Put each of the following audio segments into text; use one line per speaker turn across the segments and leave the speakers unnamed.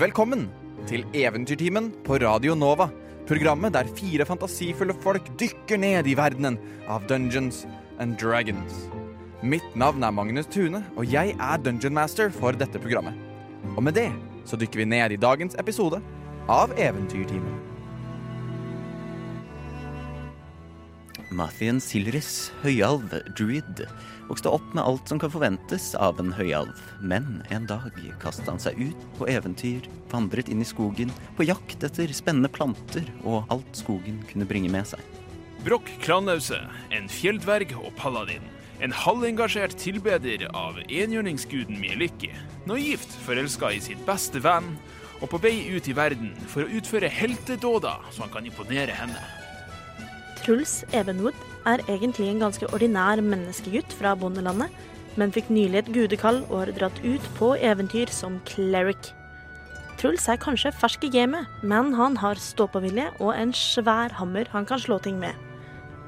Velkommen til Eventyrtimen på Radio Nova. Programmet der fire fantasifulle folk dykker ned i verdenen av Dungeons and Dragons. Mitt navn er Magnus Tune, og jeg er Dungeon Master for dette programmet. Og med det så dykker vi ned i dagens episode av Eventyrtimen.
Mathien Silris, høyalv, druid, vokste opp med alt som kan forventes av en høyalv. Men en dag kastet han seg ut på eventyr, vandret inn i skogen, på jakt etter spennende planter og alt skogen kunne bringe med seg.
Brokk Klanause, en fjelldverg og paladin. En halvengasjert tilbeder av enhjørningsguden Mieliki. Naivt forelska i sitt beste venn, og på vei ut i verden for å utføre heltedåder så han kan imponere henne.
Truls Evenwood er egentlig en ganske ordinær menneskegutt fra bondelandet, men fikk nylig et gudekall og har dratt ut på eventyr som cleric. Truls er kanskje fersk i gamet, men han har ståpåvilje og en svær hammer han kan slå ting med.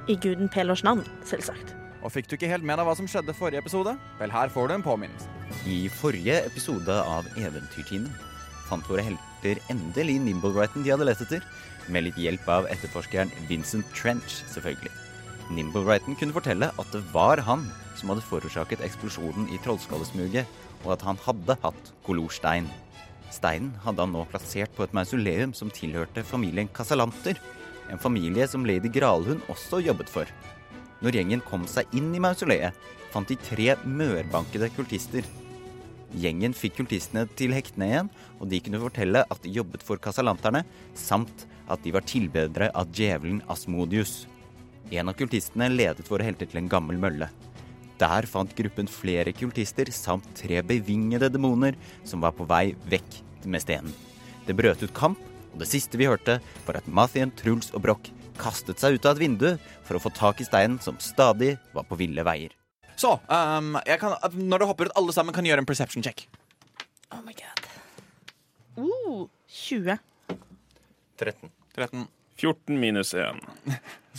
I guden Pelors navn, selvsagt.
Og fikk du ikke helt med deg hva som skjedde forrige episode? Vel, her får du en påminnelse.
I forrige episode av Eventyrtimen fant våre helter endelig Nimble-Brighton de hadde lett etter, med litt hjelp av etterforskeren Vincent Trench, selvfølgelig. Nimble-Brighton kunne fortelle at det var han som hadde forårsaket eksplosjonen i Trollskallesmuget, og at han hadde hatt kolorstein. Steinen hadde han nå plassert på et mausoleum som tilhørte familien Casalanter, en familie som lady Gralhund også jobbet for. Når gjengen kom seg inn i mausoleet, fant de tre mørbankede kultister. Gjengen fikk kultistene til hektene igjen, og de kunne fortelle at de jobbet for kasalanterne, samt at de var tilbedere av djevelen Asmodius. En av kultistene ledet våre helter til en gammel mølle. Der fant gruppen flere kultister samt tre bevingede demoner som var på vei vekk med stenen. Det brøt ut kamp, og det siste vi hørte, var at Mathien, Truls og Broch kastet seg ut av et vindu for å få tak i steinen som stadig var på ville veier.
Så, ehm, jeg kan, når det hopper ut, alle sammen kan gjøre en perception check.
Oh my god. Uh, 20.
13.
14 minus 1.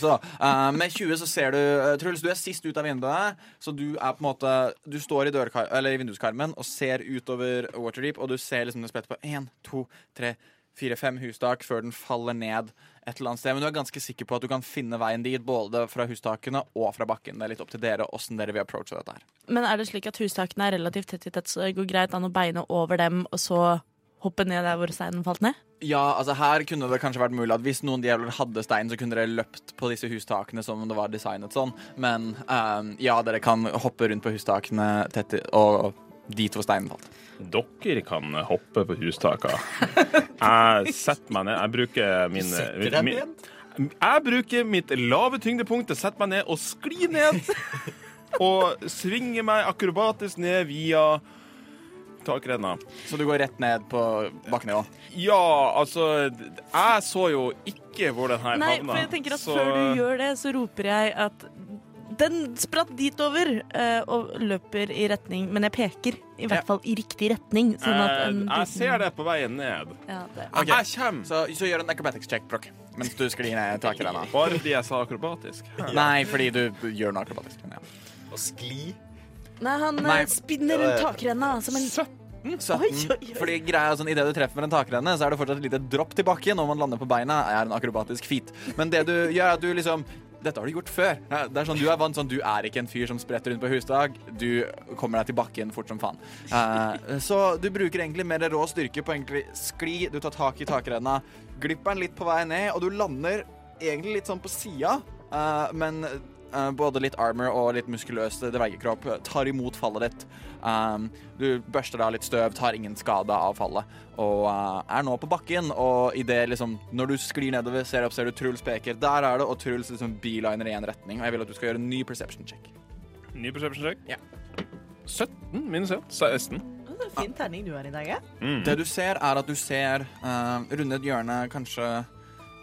Så eh, Med 20 så ser du eh, Truls, du er sist ut av vinduet. Så du er på en måte Du står i, dørkar eller i vinduskarmen og ser utover Waterdeep, og du ser liksom det spretter på én, to, tre, fire, fem hustak før den faller ned et eller annet sted. Men du er ganske sikker på at du kan finne veien dit, både fra hustakene og fra bakken. Det er litt opp til dere åssen dere vil approache dette her.
Men er det slik at hustakene er relativt tett i tett, så det går greit an å beine over dem, og så hoppe ned der hvor steinen falt ned?
Ja, altså her kunne det kanskje vært mulig at hvis noen djevler hadde stein, så kunne dere løpt på disse hustakene som om det var designet sånn. Men eh, ja, dere kan hoppe rundt på hustakene tett i, og, og dit hvor steinen falt.
Dere kan hoppe på hustakene. Jeg setter meg ned. Jeg bruker min min- Jeg bruker mitt lave tyngdepunkt til å sette meg ned og skli ned. Og svinge meg akrobatisk ned via takrenna.
Så du går rett ned på bakkenivå.
Ja, altså Jeg så jo ikke hvor den her
Nei,
havna.
for jeg tenker at før du gjør det, så roper jeg at den spratt dit over, eh, og løper i retning Men jeg peker i hvert fall i riktig retning. Sånn at en
eh, Jeg ser det på veien ned.
Ja, det.
Ok.
Jeg kommer.
Så, så gjør en acrobatics check, Broch, mens du sklir ned takrenna.
Bare fordi jeg sa akrobatisk.
Nei, fordi du gjør noe akrobatisk. Men ja.
Å skli.
Nei, han eh,
Nei.
spinner rundt takrenna som en
17.
oi, oi.
Fordi greia er sånn, Idet du treffer med en takrenne, så er det fortsatt et lite dropp til bakken. Når man lander på beina, er en akrobatisk feat. Men det du gjør, er at du liksom dette har du gjort før. Det er sånn, Du er vant sånn, du er ikke en fyr som spretter rundt på hustak. Du kommer deg til bakken fort som faen. Eh, så du bruker egentlig mer rå styrke på egentlig skli. Du tar tak i takrenna, glipper den litt på vei ned, og du lander egentlig litt sånn på sida, eh, men eh, både litt armor og litt muskuløs dvergekropp tar imot fallet ditt. Um, du børster deg av litt støv, tar ingen skade av fallet, og uh, er nå på bakken. Og i det liksom, når du sklir nedover, ser opp, ser du Truls peker. Der er det, og Truls liksom beeliner i én retning. Og jeg vil at du skal gjøre en ny perception check.
Ny perception check.
Ja.
17 minus 1. 16.
Fin terning du har i dag, ja.
Det du ser, er at du ser uh, rundet hjørnet kanskje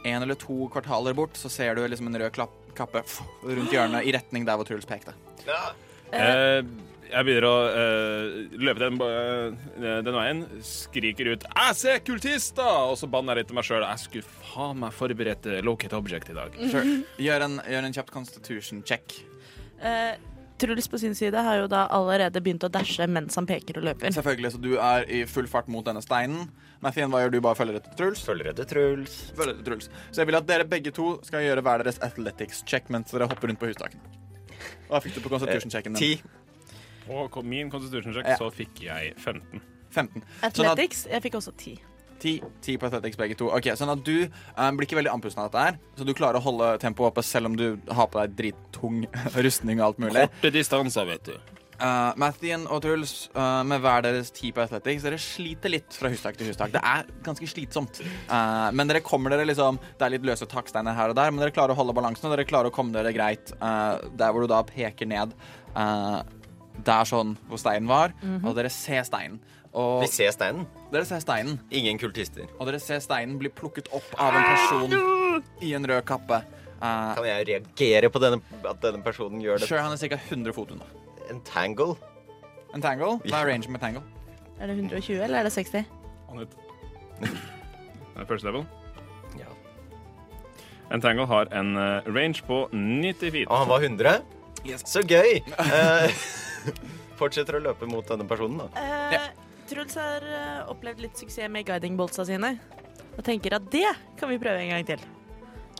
én eller to kvartaler bort, så ser du liksom en rød klapp, kappe f- rundt hjørnet i retning der hvor Truls pekte.
Eh, jeg begynner å eh, løpe den, eh, den veien. Skriker ut 'Jeg ser kultister!' Og så banner jeg litt til meg sjøl. Jeg skulle faen meg forberedt eh, locate object i dag.
Sure. Gjør, en, gjør en kjapt constitution check.
Eh, Truls på sin side har jo da allerede begynt å dashe mens han peker og løper.
Selvfølgelig, så du er i full fart mot denne steinen. Mathien, hva gjør du? Bare følger etter Truls?
Følger etter Truls.
Følger etter Truls. Så jeg vil at dere begge to skal gjøre hver deres athletics check mens dere hopper rundt på hustaken. Hva fikk du på
Eh,
constitution-checken din?
Ti.
Og min constitution check,
Ja.
så fikk jeg 15.
15. Sånn at-
Athletics, jeg fikk også ti.
Ti, ti på Athletics begge to. Ok, Sånn at du eh, blir ikke veldig andpusten av dette, her så du klarer å holde tempoet oppe selv om du har på deg drittung rustning og alt mulig.
Korte distanser, vet du.
Uh, Mathien og Truls eh, med hver deres ti på Athletics, dere sliter litt fra hustak til hustak. Det er ganske slitsomt. Eh, men dere kommer dere liksom Det er litt løse taksteiner her og der, men dere klarer å holde balansen, og dere klarer å komme dere greit eh, der hvor du da peker ned eh, der sånn hvor steinen var, og dere ser steinen. Og
Vi ser steinen.
dere ser steinen.
Ingen kultister.
Og dere ser steinen bli plukket opp av en person i en rød kappe. Eh,
Kan jeg reagere på denne, at denne personen gjør det?
sure, han er ca. 100 fot unna.
En tangle?
En tangle? Hva er rangen med tangle?
Er det 120, eller er det 60?
Annet. Det er First level.
Ja.
En tangle har en eh, range på 90 feet.
Ah,
Og han var 100? Så gøy! Eh, fortsetter å løpe mot denne personen, da.
Ja.
Eh, Truls har eh, opplevd litt suksess med guiding boltsa sine, og tenker at det kan vi prøve en gang til.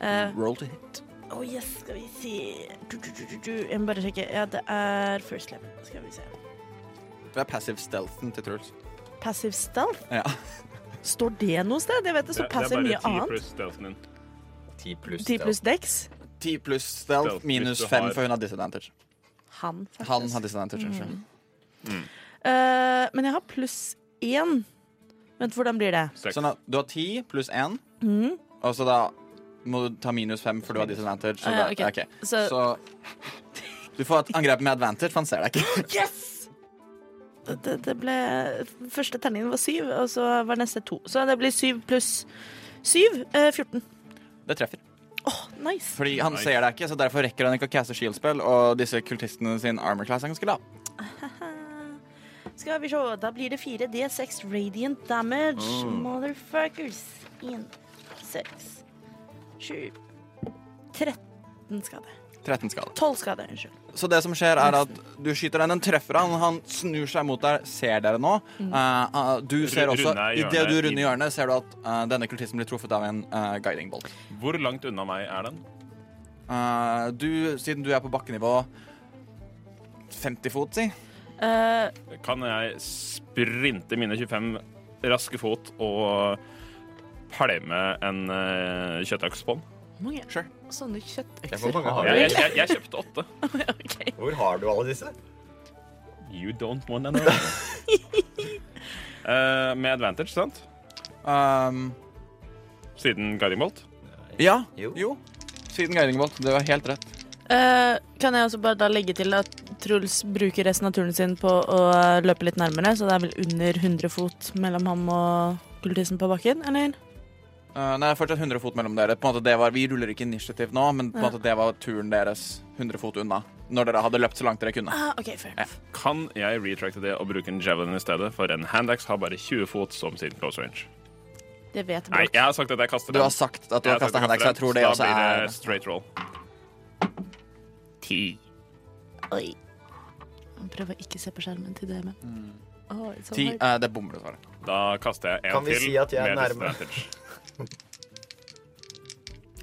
Eh,
Roll to hit.
oh yes, skal vi si du, du, du, du, du. Jeg må bare sjekke. Ja, det er first level. Skal vi se.
Det er passive stealthen til Truls.
Passive stealth?
Ja.
Står det noe sted? Jeg vet det står passive mye annet.
stealthen din.
10 pluss.
10 pluss dex.
10 pluss stealth
Stealth,
minus
hvis du
5,
har-
for hun har disadvantage.
Han, faktisk.
Han har disadvantage.
Mm.
unnskyld.
Eh, men jeg har pluss én. Vent, hvordan blir det? Hmm?
Seks.
Sånn at du har 10 pluss 1, og så da må du ta minus 5, for du har disadvantage. Så,
Ah, ja,
da,
ok.
ok.
Så-
så du får et angrep med advantage, for han ser deg ikke.
Yes! Det, det ble Første terningen var syv, og så var neste to. Så det blir syv pluss syv. Eh, 14.
Det treffer.
Åh, nice.
Fordi han
Nice.
ser deg ikke, så derfor rekker han ikke å caste shieldspill, og disse kultistene sin armor class er ganske lav.
Skal vi se, da blir det 4D6 radiant damage. Motherfuckers. Én, seks, sju 13 skade.
13 skade.
12 skade, unnskyld.
Så det som skjer er at du skyter den, den treffer han, han snur seg mot deg, ser dere nå.
Mm.
Eh, eh, du ser
Ru-
også,
runde
i det
hjørnet.
du runder hjørnet, ser du at eh, denne kultisten blir truffet av en eh, guiding bolt.
Hvor langt unna meg er den?
Eh, du, siden du er på bakkenivå 50 fot, si.
Eh,
Kan jeg sprinte mine 25 raske fot og pælme en uh, kjøttøks på den?
hvor mange
Sure.
sånne
Ja, hvor
kjøttøkser
mange har
har du?
du?
Jeg, jeg, jeg kjøpte åtte.
Ok.
Hvor har du alle disse?
You don't want to know. Eh, med advantage, sant?
Um,
Siden guiding bolt.
ja.
Jo.
Jo. Siden guiding bolt. Det var helt rett.
Eh, kan jeg også bare da legge til at Truls bruker resten av turen sin på å løpe litt nærmere, så det er vel under 100 fot mellom ham og kultisten på bakken, eller?
Eh, nei, fortsatt 100 fot mellom dere. På en måte det var, vi ruller ikke initiativ nå, men på en måte det var turen deres 100 fot unna. Når dere hadde løpt så langt dere kunne.
Ah, ok, fair.
Kan jeg retracte det og bruke en javelin i stedet? For en handax har bare 20 fot som sin close range.
Det vet
Nei,
Broch.
jeg har sagt at jeg kaster
Du
den.
har sagt at du har
Jeg har sagt
kasta
jeg
handax, så
kaster
jeg tror
den,
det
så
også
Da blir
er
det straight roll. Ti.
Oi. Han prøver å ikke se på skjermen til det, men Åh, it's so
Ti.
hard.
eh, det bommer du, svarer.
Da kaster jeg en
Kan vi
til
si at jeg er
med
nærme?
disadvantage.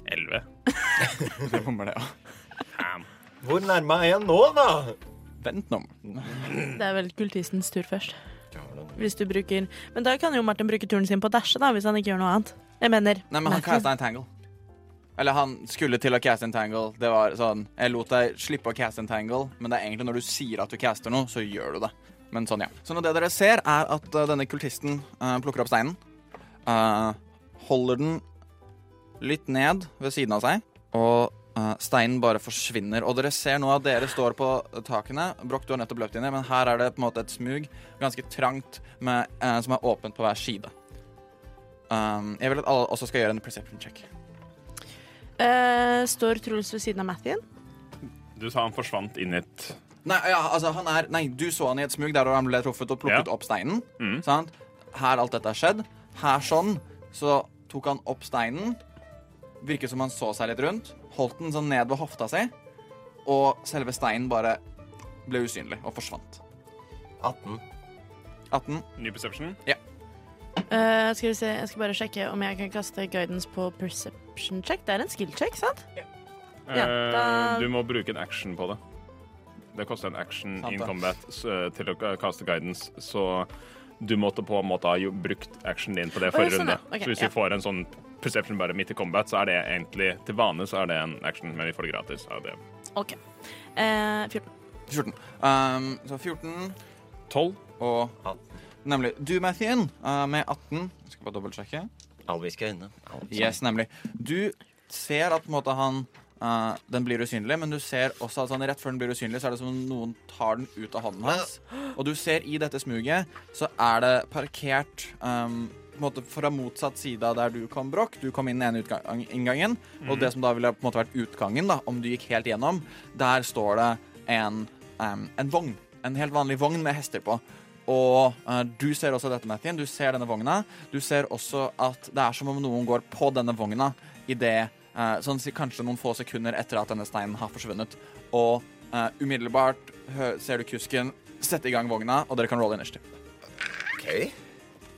Elleve.
Det bommer det, ja.
Damn.
Hvor nærme er jeg nå, da?
Vent nå.
Det er vel kultistens tur først. Hvis du bruker Men da kan jo Martin bruke turen sin på å dashe, da, hvis han ikke gjør noe annet. Jeg mener
Nei, men han
Martin.
casta en tangle. Eller han skulle til å caste en tangle. Det var sånn Jeg lot deg slippe å caste en tangle, men det er egentlig når du sier at du caster noe, så gjør du det. Men sånn, ja. Så når det dere ser, er at eh, denne kultisten eh, plukker opp steinen, eh, holder den litt ned ved siden av seg, og eh, steinen bare forsvinner. Og dere ser nå at dere står på takene. Broch, du har nettopp løpt inn i, men her er det på en måte et smug, ganske trangt, med, eh, som er åpent på hver side. Um, jeg vil at alle også skal gjøre en perception check.
Eh, står Truls ved siden av Mathien?
Du sa han forsvant inn i et
Nei, ja, altså, han er, nei du så han i et smug der hvor han ble truffet og plukket
Ja.
opp steinen.
Mm.
Sant? Her alt dette har skjedd. Her sånn, så tok han opp steinen. Virket som han så seg litt rundt. Holdt den sånn ned ved hofta si. Og selve steinen bare ble usynlig og forsvant.
18.
18.
Ny perception.
Eh, skal vi se, Jeg skal bare sjekke om jeg kan kaste guidance på perception check. Det er en skill check, sant? Ja,
Eh,
da-
Du må bruke en action på det. Det koster en action
Sant
in
det.
combat s- eh, til å kaste guidance, så du måtte på en måte ha jo brukt actionen din på
Å,
det
ja,
forrige
sånn, ja.
runde.
Ok,
så hvis
ja.
vi får en sånn perception bare midt i combat, så er det egentlig til vane så er det en action, men vi får det gratis. av det.
OK. Eh, 14.
14. Um, så 14
12.
og
18.
Nemlig. Du, Mathien, uh, med 18 Jeg skal bare dobbeltsjekke.
Alviske øyne.
Yes, nemlig. Du ser at på en måte han eh, Den blir usynlig, men du ser også at sånn, rett før den blir usynlig, så er det som om noen tar den ut av hånden hans. Og du ser i dette smuget, så er det parkert ehm, på en måte fra motsatt side av der du kom, Brokk. Du kom inn den ene utgang- inngangen, og det som da ville på en måte vært utgangen, da, om du gikk helt gjennom, der står det en, ehm, en vogn. En helt vanlig vogn med hester på. Og eh, du ser også dette, Mathien. Du ser denne vogna. Du ser også at det er som om noen går på denne vogna i det eh, sånn, si- Kanskje noen få sekunder etter at denne steinen har forsvunnet. Og eh, umiddelbart hø ser du kusken sette i gang vogna, og dere kan rolle initiativ.
Ok.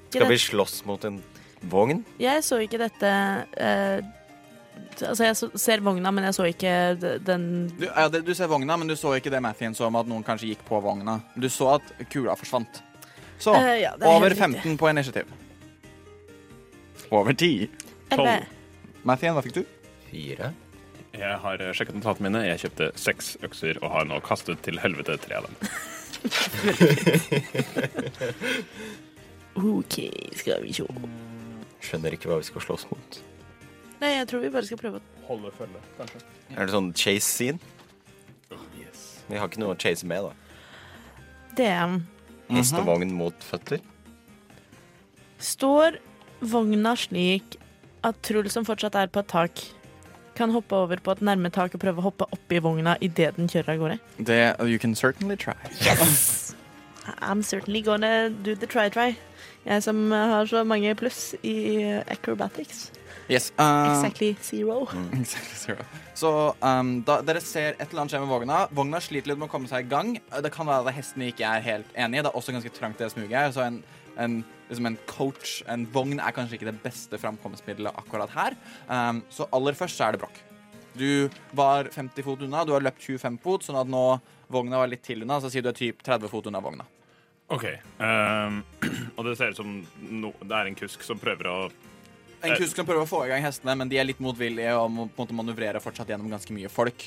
Skal vi slåss mot en vogn?
Jeg så ikke dette eh, Altså, jeg så, ser vogna, men jeg så ikke d- den
Du, ja, det, du ser vogna, men du så ikke det Mathien så om at noen kanskje gikk på vogna. Du så at kula forsvant. Så
Eh, ja, det er
over
helt riktig.
15 på initiativ. Over 10.
Elleve.
Mathien, hva fikk du?
Fire.
Jeg har eh, sjekket notatene mine. Jeg kjøpte seks økser og har nå kastet til helvete tre av dem.
OK, skal vi sjå.
Skjønner ikke hva vi skal slåss mot.
Nei, jeg tror vi bare skal prøve å
Holde følge, kanskje.
Er det sånn chase scene? Vi har ikke noe å chase med, da.
Det
Hest
Mhm.
og vogn mot føtter.
Står vogna slik at Truls, som fortsatt er på et tak, kan hoppe over på et nærme tak og prøve å hoppe oppi vogna idet den kjører av gårde?
Det, you can certainly try.
I'm certainly gonna do the try-try. Jeg som har så mange pluss i acrobatics.
Yes.
Ah.
eh,
Exactly zero.
Exactly zero. Så um, da, dere ser et eller annet skje med vogna. Vogna sliter litt med å komme seg i gang. Eh, Det kan være at hestene ikke er helt enige. Det er også ganske trangt i det smuget her, så en, en, liksom en coach, en vogn, er kanskje ikke det beste framkomstmiddelet akkurat her. Um, så aller først så er det brokk. Du var 50 fot unna, du har løpt 25 fot, sånn at nå vogna var litt til unna, så sier du er typ 30 fot unna vogna.
OK. ehm, og det ser ut som no, det er en kusk som prøver å
En kusk kan prøve å få i gang hestene, men de er litt motvillige og må på en måte manøvrere fortsatt gjennom ganske mye folk.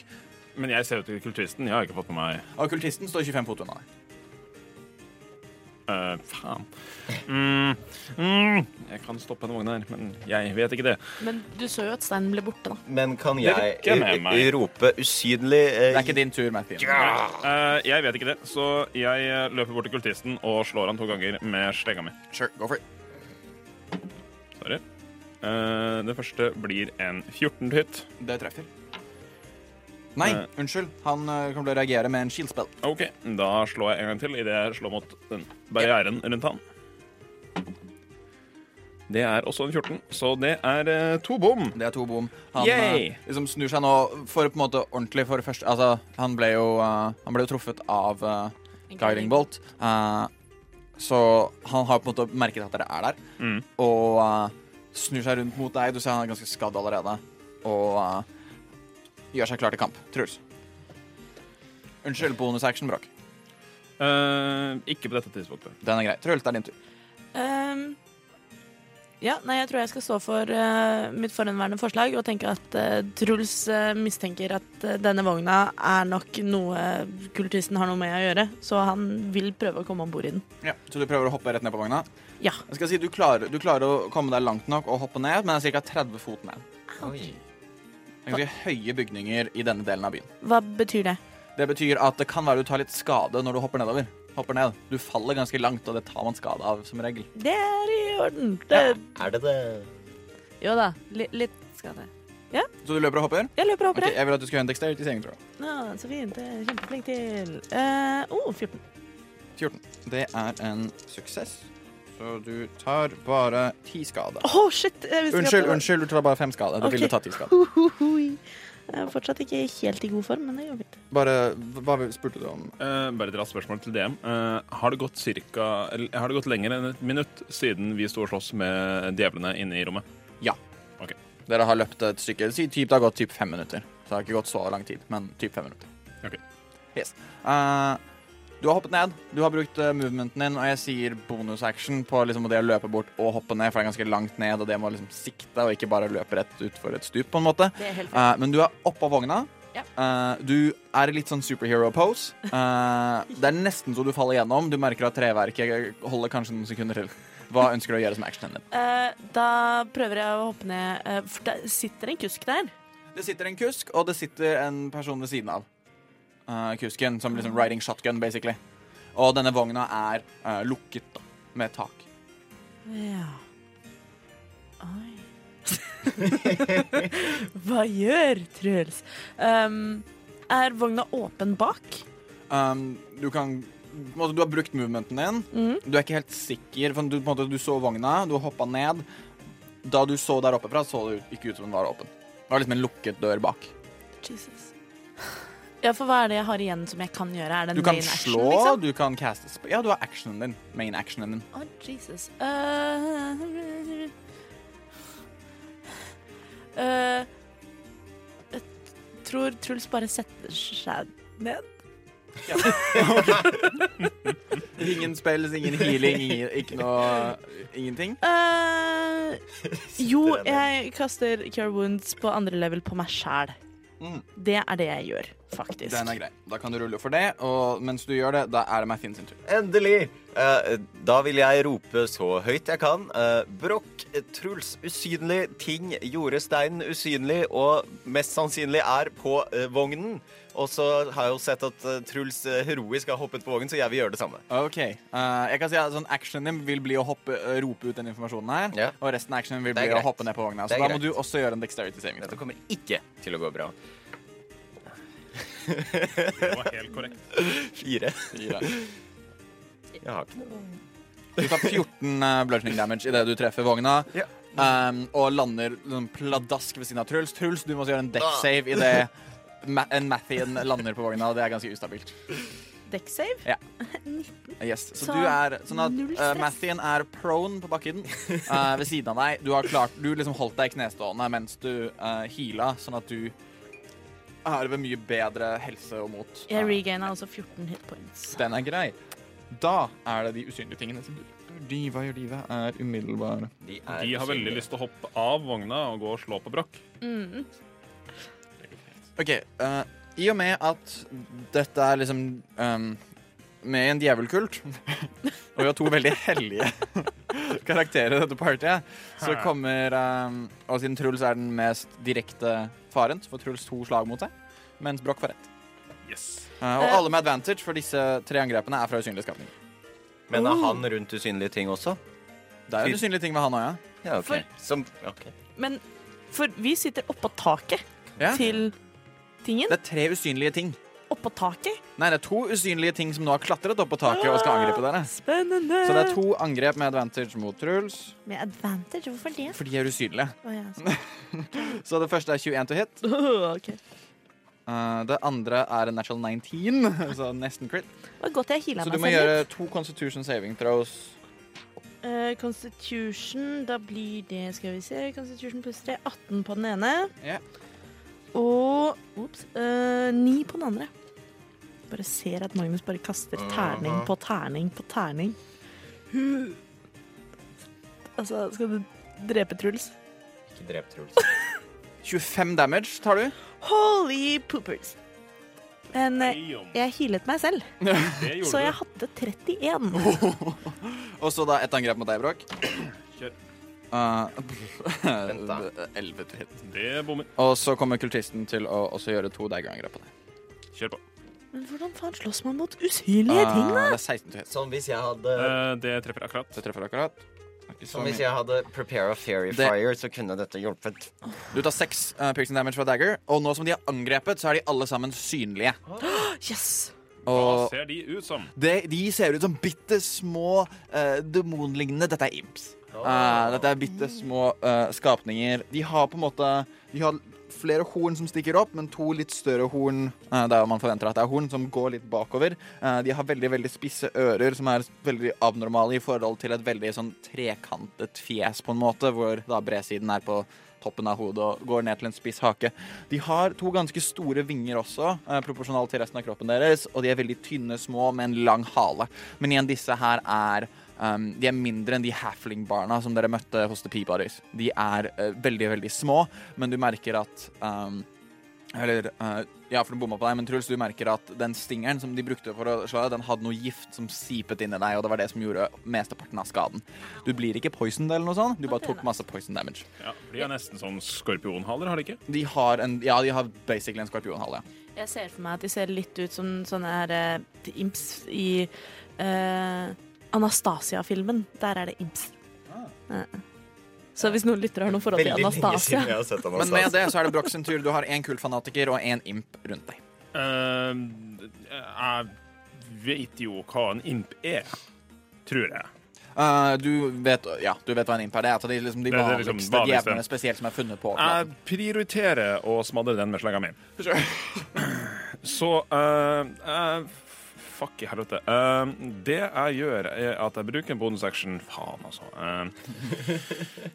Men jeg ser jo til kulturisten. Jeg har ikke fått med meg
Og kultisten står 25 fot unna deg.
Eh, faen. Mm, mm, jeg kan stoppe en vogn her, men jeg vet ikke det.
Men du så jo at steinen ble borte, da.
Men kan jeg
rykker med
i-
meg.
i- rope usynlig eh,
Det er ikke din tur, Matthew.
Eh, jeg vet ikke det, så jeg eh, løper bort til kultisten og slår han to ganger med slenga mi.
Sure, go for it.
Sorry. Eh, det første blir en 14 hit.
Det treffer. Nei,
Eh.
unnskyld. Han eh, kommer til å reagere med en shield spell.
OK, da slår jeg en gang til idet jeg slår mot den barrieren rundt han. Det er også en 14, så det er eh, to bom.
Det er to bom. Han
Yay!
eh, liksom snur seg nå for på en måte ordentlig for første Altså, han ble jo, eh, han ble jo truffet av eh, Guiding Bolt. Eh, så han har på en måte merket at dere er der,
Mm.
og eh, snur seg rundt mot deg. Du ser han er ganske skadd allerede, og eh, gjør seg klar til kamp. Truls. Unnskyld, bonusaction, Bråk.
Eh, ikke på dette tidspunktet.
Den er grei. Truls, det er din tur.
Ehm, ja, nei, jeg tror jeg skal stå for eh, mitt forhenværende forslag og tenke at eh, Truls eh, mistenker at eh, denne vogna er nok noe kultisten har noe med å gjøre, så han vil prøve å komme om bord i den.
Ja. Så du prøver å hoppe rett ned på vogna?
Ja.
Jeg skal si du klarer, du klarer å komme deg langt nok og hoppe ned, men det er ca. 30 fot ned.
Oi.
Det er ganske høye bygninger i denne delen av byen.
Hva betyr det?
Det betyr at det kan være du tar litt skade når du hopper nedover. Hopper ned. Du faller ganske langt, og det tar man skade av som regel.
Det er i orden. Det,
Er det det?
Jo da, li, litt skal det.
Så du løper og hopper?
Jeg løper og
Ok,
hopper, jeg.
jeg vil at du skal gjøre en dexterity saving throw.
Å, så fint. Det er Kjempeflink til. Eh, oh, 14.
14. Det er en suksess. Så du tar bare ti skade.
Å, shit! Jeg visste ikke at
Unnskyld,
det var-
unnskyld, du tar bare fem skade. Du
Ok.
ville tatt ti skade.
Jeg er fortsatt ikke helt i god form, men det går fint.
Bare, Hva spurte du om?
Eh, bare et raskt spørsmål til DM. Eh, har, det gått cirka, eller, har det gått lenger enn et minutt siden vi sto og sloss med djevlene inne i rommet?
Dere har løpt et stykke. Si typ, det har gått typ fem minutter. Så det har ikke gått så lang tid, men typ fem minutter.
Ok.
Yes. Eh, du har hoppet ned. Du har brukt eh, movementen din, og jeg sier bonus action på liksom, det å løpe bort og hoppe ned, for det er ganske langt ned, og det må liksom sikte og ikke bare løpe rett utfor et stup, på en måte.
Det er helt
Eh, men du er oppå vogna. Eh, du er i litt sånn superhero pose. Eh, det er nesten så du faller gjennom. Du merker at treverket holder kanskje noen sekunder til. Hva ønsker du å gjøre som actionen din?
Eh, da prøver jeg å hoppe ned eh, For det sitter en kusk der.
Det sitter en kusk, og det sitter en person ved siden av eh, kusken, som liksom
Ah.
riding shotgun, basically. Og denne vogna er eh, lukket, da, med tak.
Ja. Oi. Hva gjør Truls? Um, er vogna åpen bak?
Um, du kan på en måte, Du har brukt movementen din.
Mhm.
Du er ikke helt sikker, for du, på en måte, du så vogna, du hoppa ned. Da du så der oppe fra, så det ikke ut som den var åpen. Det var liksom en lukket dør bak.
Jesus. Ja, for hva er det jeg har igjen som jeg kan gjøre? Er det en
Du kan
main action,
slå,
liksom?
du kan caste sp- Ja, du har actionen din. Main actionen din.
Å, Jesus. Eh, eh, jeg tror Truls bare setter seg ned.
Ingen spells, ingen healing, ingen, ikke noe Ingenting.
Eh, jo, jeg kaster Cure Wounds på andre level på meg sjæl.
Mm.
Det er det jeg gjør, faktisk.
Den er grei. Da kan du rulle for det, og mens du gjør det, da er det Mathien sin tur.
Endelig!
Eh, da vil jeg rope så høyt jeg kan. Eh, Brokk, Truls, usynlig, ting gjorde steinen usynlig, og mest sannsynlig er på eh, vognen. Og så har jeg jo sett at eh, Truls eh, heroisk har hoppet på vognen, så jeg vil gjøre det samme.
Ok, eh, jeg kan si at sånn actionen din vil bli å hoppe, eh, rope ut den informasjonen her,
Ja.
og resten av actionen vil
Det
bli
er
å
greit.
hoppe ned på vogna. Så
Det
da
er
må
greit.
du også gjøre en dexterity saving.
Dette
throw.
kommer ikke til å gå bra.
Det var helt korrekt.
Fire.
Fire.
Jeg har ikke noe.
Du tar 14 eh, bludgeoning damage idet du treffer vogna.
Ja.
ehm, og lander sånn pladask ved siden av Truls. Truls, du må også gjøre en dex save idet Ma en Mathien lander på vogna. Det er ganske ustabilt.
Deck save.
Yes, så,
Så
du er sånn at
null
uh,
stress.
Mathien er prone på bakken eh, ved siden av deg. Du har klart, du liksom holdt deg knestående mens du uh, heala, sånn at du er ved mye bedre helse og mot. eh,
Jeg regaina altså 14 hit points.
Den er grei. Da er det de usynlige tingene som de, Hva gjør de? Hva er umiddelbare?
De,
De har veldig lyst til å hoppe av vogna og gå og slå på brokk.
Mm.
OK. eh, I og med at dette er liksom ehm, med en djevelkult, og vi har to veldig hellige karakterer i dette partiet, så kommer ehm, Og siden Truls er den mest direkte faren, så får Truls to slag mot seg, mens Broch får ett.
Yes.
Eh, og alle med advantage for disse tre angrepene er fra usynlig skapning.
Men
Mm.
er han rundt usynlige ting også?
Det er en usynlig ting med han òg, ja.
Ja, OK.
For-
Som OK.
Men for vi sitter oppå taket
Ja.
til tingen.
Det er tre usynlige ting.
Oppå taket.
Nei, det er to usynlige ting som nå har klatret opp på taket og skal angripe dere.
Spennende.
Så det er to angrep med advantage mot Truls,
Med advantage. Hvorfor det?
for de er usynlige.
Å, ja, så-
Så det første er 21 to hit.
ok. Det
Eh, det andre er en natural 19, så nesten crit.
var godt jeg heala
Så
meg
du
selv.
må
litt.
gjøre to constitution saving throws.
Eh, Constitution, da blir det Skal vi se. Constitution pluss 3. 18 på den ene.
Ja.
Og ops, eh, 9 på den andre. Bare ser at Magnus bare kaster terning på terning på terning. Hu. Altså, skal du drepe Truls?
Ikke drep Truls.
25 damage tar du.
Holy poopers! Men eh, jeg healet meg selv,
Det
så
gjorde
jeg
du.
hadde 31.
Og så da ett angrep mot deg, Bråk.
Kjør.
Eh,
da.
11 to hit.
Det bommer.
Og så kommer kultisten til å også gjøre to dagger-angrep på deg.
Kjør på.
Men hvordan faen slåss man mot usynlige
Ah.
ting, da?
Eh, det er 16 to hit.
Sånn hvis jeg hadde
Eh, Det treffer akkurat.
Det treffer akkurat. Det er ikke så
Som
mye.
hvis jeg hadde prepare a fairy
Det-
fire, så kunne dette hjulpet.
Du tar seks eh, piercing damage fra dagger, og nå som de har angrepet, så er de alle sammen synlige.
Yes!
Hva
Og
ser de ut som?
de, de ser ut som bitte små eh, demonlignende Dette eh, er imps. Eh, dette er bitte små eh, skapninger. De har på en måte De har flere horn som stikker opp, men to litt større horn eh, der man forventer at det er horn, som går litt bakover. Eh, De har veldig veldig spisse ører, som er veldig abnormale i forhold til et veldig sånn trekantet fjes, på en måte, hvor da bredsiden er på toppen av hodet og går ned til en spiss hake. De har to ganske store vinger også, eh, proporsjonalt til resten av kroppen deres, og de er veldig tynne, små, med en lang hale. Men igjen, disse her er Um, de er mindre enn de halfling-barna som dere møtte hos The Peabodies. De er eh, veldig, veldig små, men du merker at um, Eller eh, Ja, for den bomma på deg, men Truls, du merker at den stingeren som de brukte for å slå deg, den hadde noe gift som sipet inn i deg, og det var det som gjorde mesteparten av skaden. Du blir ikke poisoned eller noe sånt, du bare tok masse poison damage.
Ja, de er nesten sånn skorpionhaler, har de ikke?
De har en Ja, de har basically en skorpionhale. ja.
Jeg ser for meg at de ser litt ut som sånne her eh, imps i eh, Anastasia-filmen. Der er det imps. Ja. Så hvis noen lytter og har noe forhold til
Ah. Veldig lenge siden
Anastasia
jeg har sett
Men med
Anastasia.
det så er det Broch sin tur. Du har én kultfanatiker og én imp rundt deg.
Eh, jeg vet jo hva en imp er, tror jeg.
Eh, du vet Ja, du vet hva en imp er. Det er et av de, liksom, de
Det er det
vanligste
liksom vanligste. Eh,
djevlene spesielt som er funnet på.
Jeg prioriterer å smadre den med slegga mi. Så eh, jeg- Fuck i helvete. Eh, det jeg gjør, er at jeg bruker en bonusaction Faen, altså. Eh,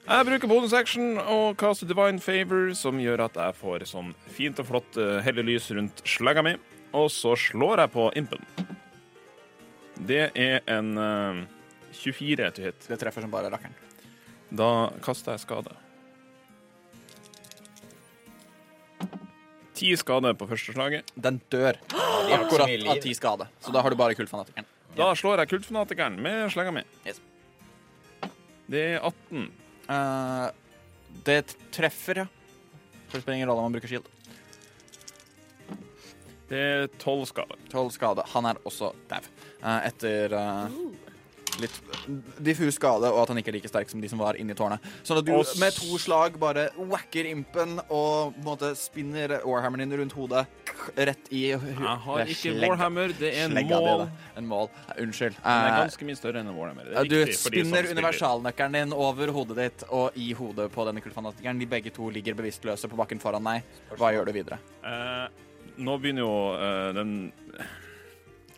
jeg bruker bonusaction og caster divine favor, som gjør at jeg får sånn fint og flott eh, hellelys rundt slegga mi. Og så slår jeg på impen. Det er en eh, 24 til hit.
Det treffer som bare rakkeren.
Da kaster jeg skade. Ti skade på første slaget.
Den dør i akkurat av ti skade. Så da har du bare kultfanatikeren.
Da slår jeg kultfanatikeren med slegga mi.
Yes.
Det er 18.
Eh, det treffer, ja. For det spiller ingen rolle om man bruker shield.
Det er 12 skade.
Tolv skade. Han er også dau. Eh, etter eh, litt diffus skade, og at han ikke er like sterk som de som var inni tårnet. Sånn at du
Og s-
med to slag bare wacker impen og på en måte spinner warhammeren din rundt hodet rett i
Jeg har
Det er
ikke
slegga.
Warhammer, det er en
Slegga di,
mål.
da. En mål. Eh, Unnskyld.
Den er
Eh,
ganske mye større enn en Warhammer. Det er
Ja, Du
riktig for de som
spinner
spiller.
universalnøkkelen din over hodet ditt og i hodet på denne kultfanatikeren. De begge to ligger bevisstløse på bakken foran deg. Hva gjør du videre?
Eh, nå begynner jo eh, den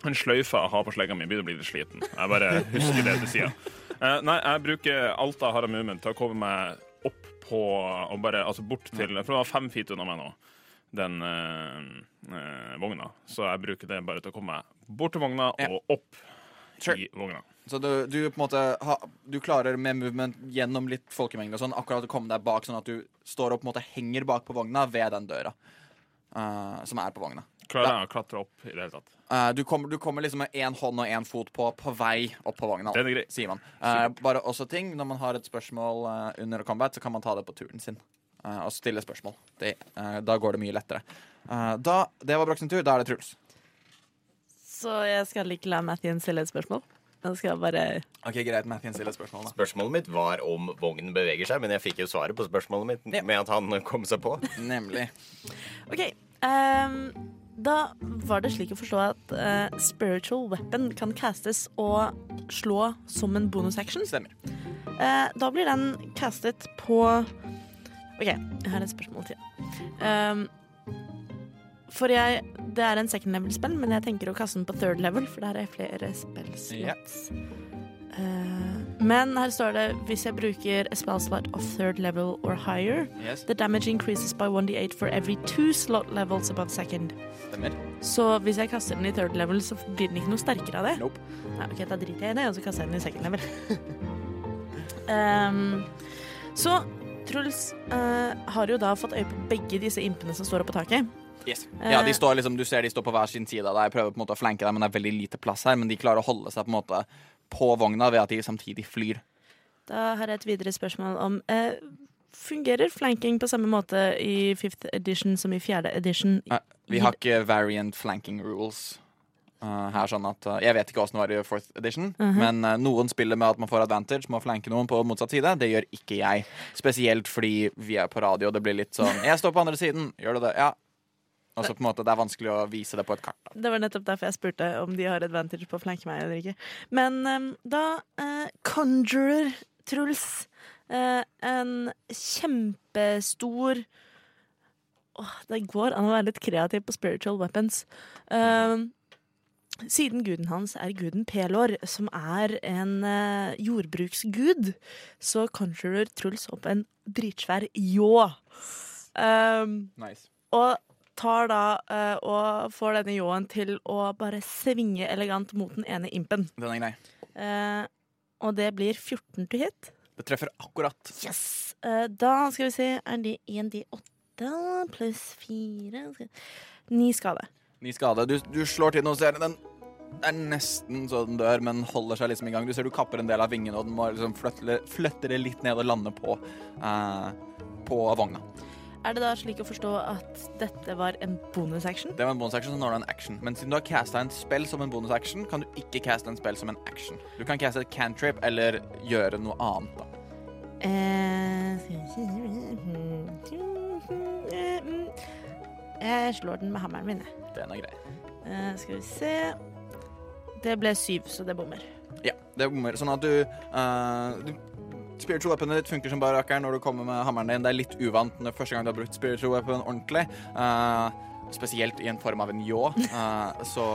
Den sløyfa jeg har på slegga mi, begynner å bli litt sliten. Jeg bare husker det til sida. nei, jeg bruker alt jeg har av movement til å komme meg opp på og bare, Altså bort til For det var fem feet unna meg nå, den eh, eh, vogna. Så jeg bruker det bare til å komme meg bort til vogna
Ja.
og opp
Sure.
i vogna.
Så du, du på en måte ha, Du klarer med movement gjennom litt folkemengde og sånn akkurat å komme deg bak, sånn at du står og på en måte henger bak på vogna ved den døra eh, som er på vogna.
Klarer jeg å klatre opp i det hele tatt?
Eh, du, kommer, du kommer liksom med én hånd og én fot på på vei opp på vogna,
Den er grei.
sier man. Eh, bare også ting, Når man har et spørsmål eh, under combat, så kan man ta det på turen sin eh, og stille spørsmål. Det, eh, da går det mye lettere. Eh, da, det var Brochs tur. Da er det Truls.
Så jeg skal ikke la Mathien stille et spørsmål. Jeg skal bare
Ok, Greit, Mathien stiller spørsmål, da.
Spørsmålet mitt var om vognen beveger seg, men jeg fikk jo svaret på spørsmålet mitt med at han kom seg på.
Nemlig.
OK. ehm, da var det slik å forstå at eh, spiritual weapon kan castes og slå som en bonusaction.
Stemmer.
Eh, da blir den castet på OK, jeg har et spørsmål til. Um, for jeg Det er en second level-spill, men jeg tenker å kaste den på third level, for der er flere spillslots. Eh, men her står det hvis jeg bruker a spell slot of third level or higher,
Yes,
the damage increases by 1D8 for every two slot levels above second.
stemmer.
Så hvis jeg kaster den i third level, så blir den ikke noe sterkere av det?
Nope.
Nei, ok, da driter jeg i det, og så kaster jeg den i second level. Ehm, så Truls eh, har jo da fått øye på begge disse impene som står oppe på taket.
Yes. Ja, de står liksom, Du ser de står på hver sin side av deg, prøver på en måte å flanke deg, men det er veldig lite plass her. Men de klarer å holde seg på en måte på vogna ved at de samtidig flyr.
Da har jeg et videre spørsmål om eh, Fungerer flanking på samme måte i fifth edition som i fjerde edition?
Nei, Vi har ikke variant flanking rules. eh, her sånn at eh, Jeg vet ikke åssen det var i fourth edition, men eh, noen spiller med at man får advantage med å flanke noen på motsatt side. Det gjør ikke jeg. Spesielt fordi vi er på radio, og det blir litt sånn Jeg står på andre siden, gjør du det? Ja. Og så på en måte, det er vanskelig å vise det på et kart. da.
Det var nettopp derfor jeg spurte om de har advantage på å flanke meg eller ikke. Men eh, da eh, conjurer Truls eh, en kjempestor Åh, det går an å være litt kreativ på spiritual weapons. Ehm, siden guden hans er guden Pelor, som er en eh, jordbruksgud, så conjurer Truls opp en dritsvær ljå. Ehm,
Nice.
og tar da eh, og får denne ljåen til å bare svinge elegant mot den ene impen.
Den er grei.
Eh, og det blir 14 til hit.
Det treffer akkurat.
Yes! Eh, da skal vi se, er det 1D8 pluss 4 skal- Ni skade.
Ny skade. Du, du slår til den og ser den er nesten så den dør, men holder seg liksom i gang. Du ser du kapper en del av vingen, og den må liksom fløtle, fløtte det litt ned og lande på, eh, på vogna.
Er det da slik å forstå at dette var en bonusaction?
Det var en bonusaction, så nå er det en action. Men siden du har casta en spill som en bonusaction, kan du ikke caste en spill som en action. Du kan caste et cantrip eller gjøre noe annet, da.
Eh, skal vi se Eh, mm. Jeg slår den med hammeren min, jeg.
Den er grei.
Eh, skal vi se Det ble syv, så det bommer.
Ja, det bommer. Sånn at du, eh, du Spiritual weaponet ditt funker som bare rakkeren når du kommer med hammeren din. Det er litt uvant når første gang du har brukt spiritual weapon ordentlig. eh, spesielt i en form av en ljå. Eh, så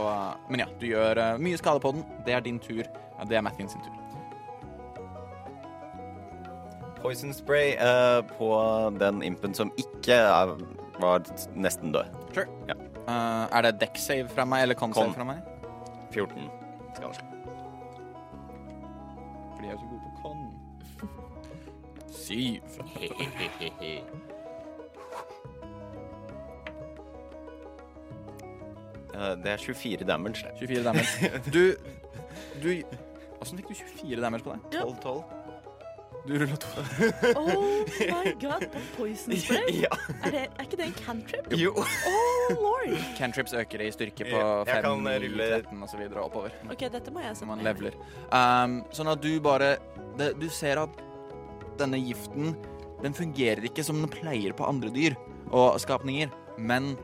Men ja, du gjør eh, mye skade på den. Det er din tur. Ja, Det er Mathien sin tur.
Poison spray eh, på den impen som ikke er, var nesten død.
Sure. Eh, er det deck save fra meg eller con
Con.
save fra meg?
14 skal han slå.
Fordi jeg er så god på con. Syv.
Eh, det er 24 damage, det.
24 damage. Du Du Åssen fikk du 24 damage på deg?
12-12.
Du rulla to.
Oh my god, på poison spray?
Ja.
Er, det, er ikke det en cantrip?
Jo.
Oh lord!
Cantrips øker i styrke på
Ja, jeg
5,
kan rulle-
13 og så videre oppover.
OK, dette må jeg
Når
sette
man
meg inn i.
leveler. Um, sånn at du bare det, Du ser at denne giften Den fungerer ikke som den pleier på andre dyr og skapninger, men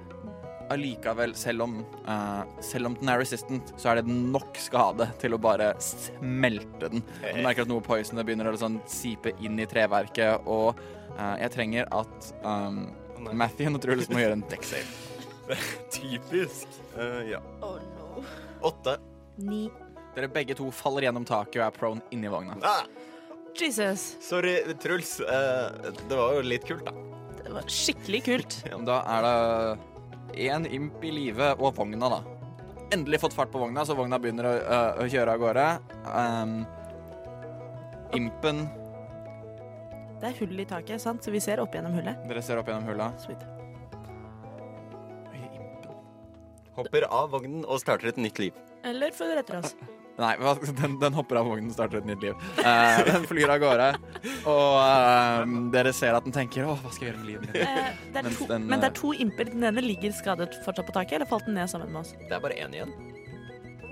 allikevel, selv om eh, Selv om den er resistant, så er det nok skade til å bare smelte den. Og Du merker at noe poison det begynner å sånn sipe inn i treverket, og eh, jeg trenger at um,
nei.
Mathien og Truls må gjøre en deck save.
Typisk. Eh, ja.
Oh no.
8.
Ni.
Dere begge to faller gjennom taket og er prone inni vogna.
Ah,
Jesus.
sorry, Truls. Eh, det var jo litt kult, da.
Det var skikkelig kult.
Da er det én imp i live og vogna, da. Endelig fått fart på vogna, så vogna begynner å, øh, å kjøre av gårde. Ehm, impen
Det er hull i taket, sant? så vi ser opp gjennom hullet.
Dere ser opp gjennom hula.
Sweet.
Hopper av vognen og starter et nytt liv.
Eller følger etter oss.
Nei, hva- den, den hopper av vognen og starter et nytt liv. Eh, den flyr av gårde, og ehm, dere ser at den tenker 'Å, hva skal jeg gjøre med livet mitt?'
Eh, det er
Mens
to,
den,
men det
eh,
er to imper. Den ene ligger skadet fortsatt på taket, eller falt den ned sammen med oss?
Det er bare én igjen.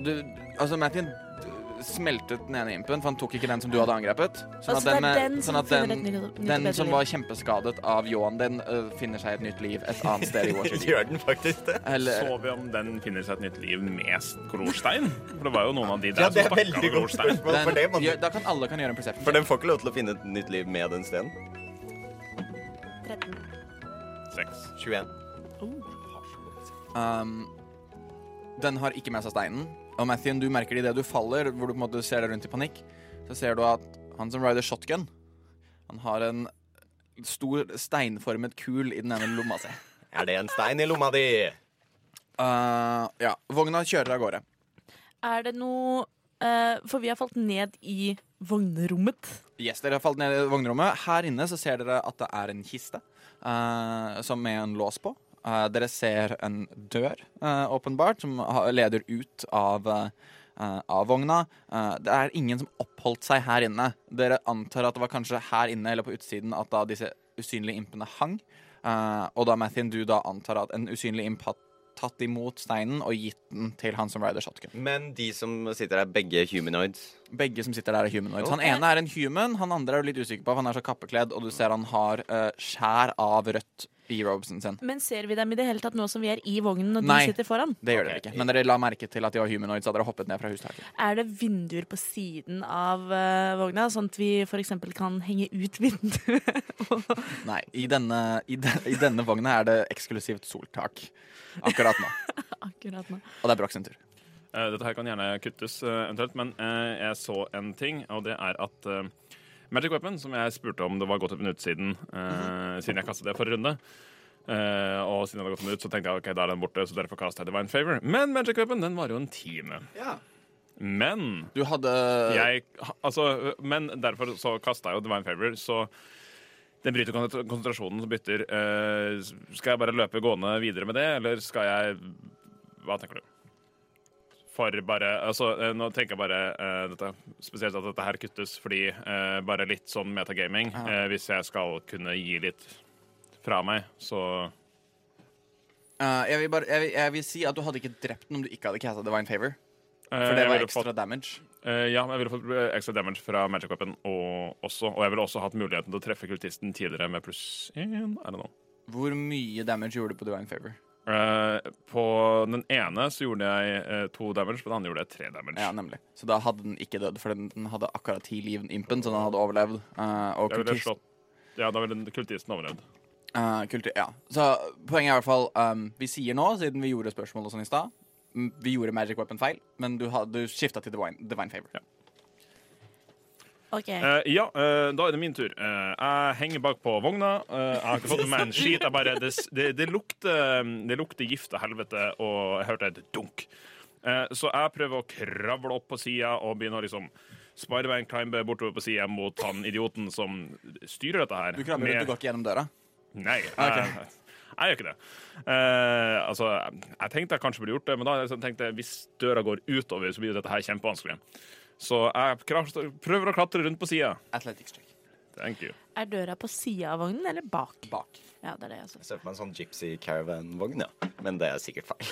Du, altså, Mathien du smeltet den ene impen, for han tok ikke den som du hadde angrepet. Sånn
Altså, det er
med-
den som
sånn at
finner
den-
et nytt- nytt og
Den
bedre
som
liv.
var kjempeskadet av ljåen din, øh, finner seg et nytt liv et annet sted i Waterdeep.
Gjør den faktisk det?
Eller
Så vi om den finner seg et nytt liv med kolorstein? For det sånn var jo noen av de der
Ja, det er
som stakk av
veldig godt
kolorstein.
spørsmål, for det
den, gjør-
man,
Da kan alle kan gjøre en perception.
For den får ikke lov til å finne et nytt liv med den steinen.
13.
Seks.
21.
Um, den har ikke med seg steinen. Og Mathien, du merker det idet du faller, hvor du på en måte ser deg rundt i panikk, så ser du at han som rider shotgun, han har en stor steinformet kul i den ene lomma si.
Er det en stein i lomma di?
Uh, ja. Vogna kjører av gårde.
Er det noe eh, For vi har falt ned i vognrommet.
Yes, dere har falt ned i vognrommet. Her inne så ser dere at det er en kiste eh, som med en lås på. Eh, dere ser en dør, eh, åpenbart, som ha- leder ut av, eh, eh, av vogna. Eh, det er ingen som oppholdt seg her inne. Dere antar at det var kanskje her inne eller på utsiden at da disse usynlige impene hang. Eh, og da, Mathien, du da antar at en usynlig imp har tatt imot steinen og gitt den til han som rider shotgun.
Men de som sitter her, begge humanoids.
Begge som sitter der er humanoids. Han ene er en human, han andre er du litt usikker på, for han er så kappekledd, og du ser han har eh, skjær av rødt i Robson sin.
Men ser vi dem i det hele tatt nå som vi er i vognen og
Nei.
de sitter foran?
Det gjør dere ikke. Men dere la merke til at de var humanoids da dere hoppet ned fra hustaket.
Er det vinduer på siden av eh, vogna, sånn at vi f.eks. kan henge ut vinduet?
Nei, i denne, i, den, i denne vogna er det eksklusivt soltak akkurat nå.
Akkurat nå.
Og det er Broch sin tur.
Eh, Dette her kan gjerne kuttes eh, eventuelt, men eh, jeg så en ting, og det er at eh, Magic Weapon, som jeg spurte om det var gått et minutt siden, eh, siden jeg kastet det forrige runde, eh, og siden det hadde gått et minutt, så tenkte jeg ok, da er den borte, så derfor kastet jeg Divine Favor. Men Magic Weapon, den varer jo en time. Men
Du hadde
jeg, altså, men derfor så kasta jeg jo Divine Favor, så den bryter kon- konsentrasjonen som bytter. Eh, skal jeg bare løpe gående videre med det, eller skal jeg Hva tenker du? For bare Altså, eh, nå tenker jeg bare eh, dette, spesielt at dette her kuttes, fordi eh, bare litt sånn metagaming eh, Hvis jeg skal kunne gi litt fra meg, så
Eh, jeg, vil bare, jeg, vil, jeg vil si at du hadde ikke drept den om du ikke hadde casta Divine Favor.
Eh,
For det
jeg
var
ville fått-
ekstra damage.
Eh, ja, men jeg ville fått eh, ekstra damage fra magic weapon og, også. Og jeg ville også hatt muligheten til å treffe kultisten tidligere med pluss én. I don't know.
Hvor mye damage gjorde du på Divine Favor?
Eh, på den ene så gjorde jeg eh, to damage, på den andre gjorde jeg tre damage.
Ja, nemlig. Så da hadde den ikke dødd, for den, den hadde akkurat ti liv, den impen, så den hadde overlevd. Eh, og
jeg ville
kultist,
slått Ja, da ville den- kultisten overlevd.
eh, kulti- ja. Så poenget er i hvert fall um, Vi sier nå, siden vi gjorde spørsmål og sånn i stad m- Vi gjorde Magic Weapon feil, men du, had- du skifta til Divine, Divine Favor.
OK.
Eh, ja, eh, da er det min tur. Eh, jeg henger bak på vogna. Eh, jeg har ikke fått med meg en skit. Jeg bare, det, det, det, lukter, det lukter gift og helvete, og jeg hørte et dunk. Eh, så jeg prøver å kravle opp på sida og begynne å liksom Spiderman climbe bortover på sida mot han idioten som styrer dette her.
Du krammer
Med-
rundt, du går ikke gjennom døra.
Nei, jeg, jeg gjør ikke det. Eh, altså, jeg tenkte jeg kanskje burde gjort det, men da tenkte jeg hvis døra går utover, så blir jo dette her kjempevanskelig. Så jeg kras- prøver å klatre rundt på sida.
Athletics check.
Thank you.
Er døra på sida av vognen eller bak?
Bak.
Ja, det er det jeg sa.
Jeg ser på meg en sånn gypsy caravan-vogn, ja. Men det er sikkert feil.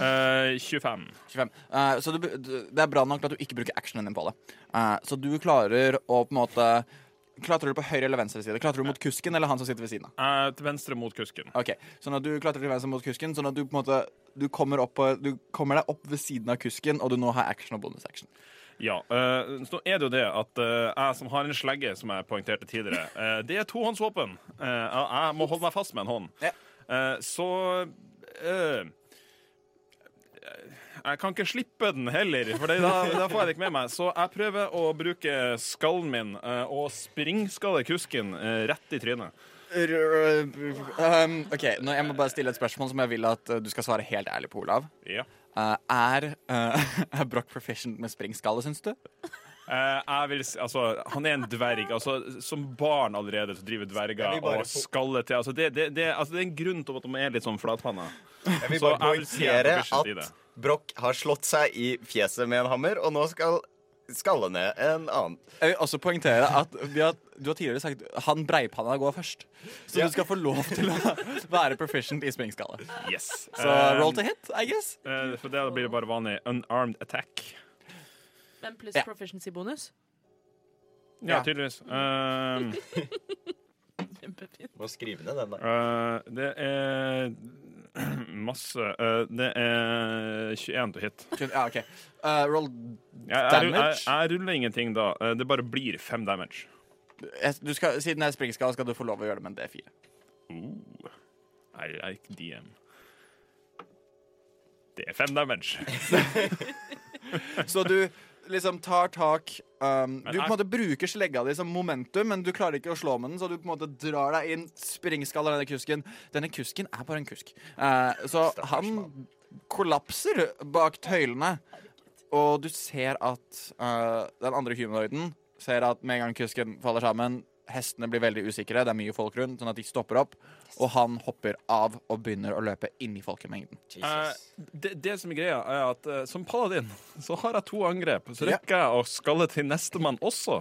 Eh, 25.
25. Eh, så du, bu- du- det er bra nok at du ikke bruker actionen din på det. Eh, så du klarer å på en måte Klatrer du på høyre eller venstre side? Klatrer du mot kusken eller han som sitter ved siden av?
Eh, til venstre mot kusken.
Ok, Sånn at du klatrer til venstre mot kusken, sånn at du på en måte du kommer, opp, på- du kommer deg opp ved siden av kusken, og du nå har action og bonusaction.
Ja. eh, så er det jo det at eh, jeg som har en slegge, som jeg poengterte tidligere, eh, det er tohåndsvåpen. Eh, jeg- jeg må holde meg fast med en hånd.
Ja.
Eh, så eh, Jeg kan ikke slippe den heller, for det, da, da får jeg det ikke med meg. Så jeg prøver å bruke skallen min eh, og springskalle kusken eh, rett i trynet.
Um, ok, nå Jeg må bare stille et spørsmål som jeg vil at uh, du skal svare helt ærlig på, Olav.
Ja.
Uh, er uh, er Broch proficient med springskalle, syns du?
Eh, jeg vil, si- altså, han er en dverg. Altså, som barn allerede så driver
Jeg
dverger
vil bare
og
få-
skaller til. Altså, det, det, det, altså, det er en grunn til at de er litt sånn flatpanna.
Jeg vil
Så
bare
jeg vil si jeg er
poengtere
proficient i det.
at Broch har slått seg i fjeset med en hammer, og nå skal skalle ned en annen.
Jeg vil også poengtere at vi har, du har tidligere sagt han breipanna går først. Så du skal få lov til å være proficient i springskalle.
Yes.
Så roll to hit, I guess.
Eh, for det blir det bare vanlig unarmed attack.
Men pluss
Ja.
proficiency-bonus.
Ja,
Ja.
tydeligvis. Eh,
Kjempefint.
Må skrive ned den, da.
eh, det er masse eh, Det er 21 til hit.
Ja, ok uh, Roll
Jeg, jeg, jeg,
Damage?
jeg ruller ingenting da. Eh, Det bare blir fem damage.
jeg, du skal, Siden det er springskalle, skal du få lov å gjøre det med en D4.
I like DM. Det er fem damage.
Så du liksom tar tak um, Du på
er-
en måte bruker slegga di som momentum, men du klarer ikke å slå med den, så du på en måte drar deg inn, springskaller denne kusken. Denne kusken er bare en kusk. Eh, så
Stakkars
han
mann.
kollapser bak tøylene, og du ser at eh, den andre humanoiden ser at med en gang kusken faller sammen Hestene blir veldig usikre, det er mye folk rundt, sånn at de stopper opp. Og han hopper av og begynner å løpe inn i folkemengden.
Eh, det, det som er greia, er at eh, som paladin så har jeg to angrep. Så
Ja.
rekker jeg å skalle til nestemann også.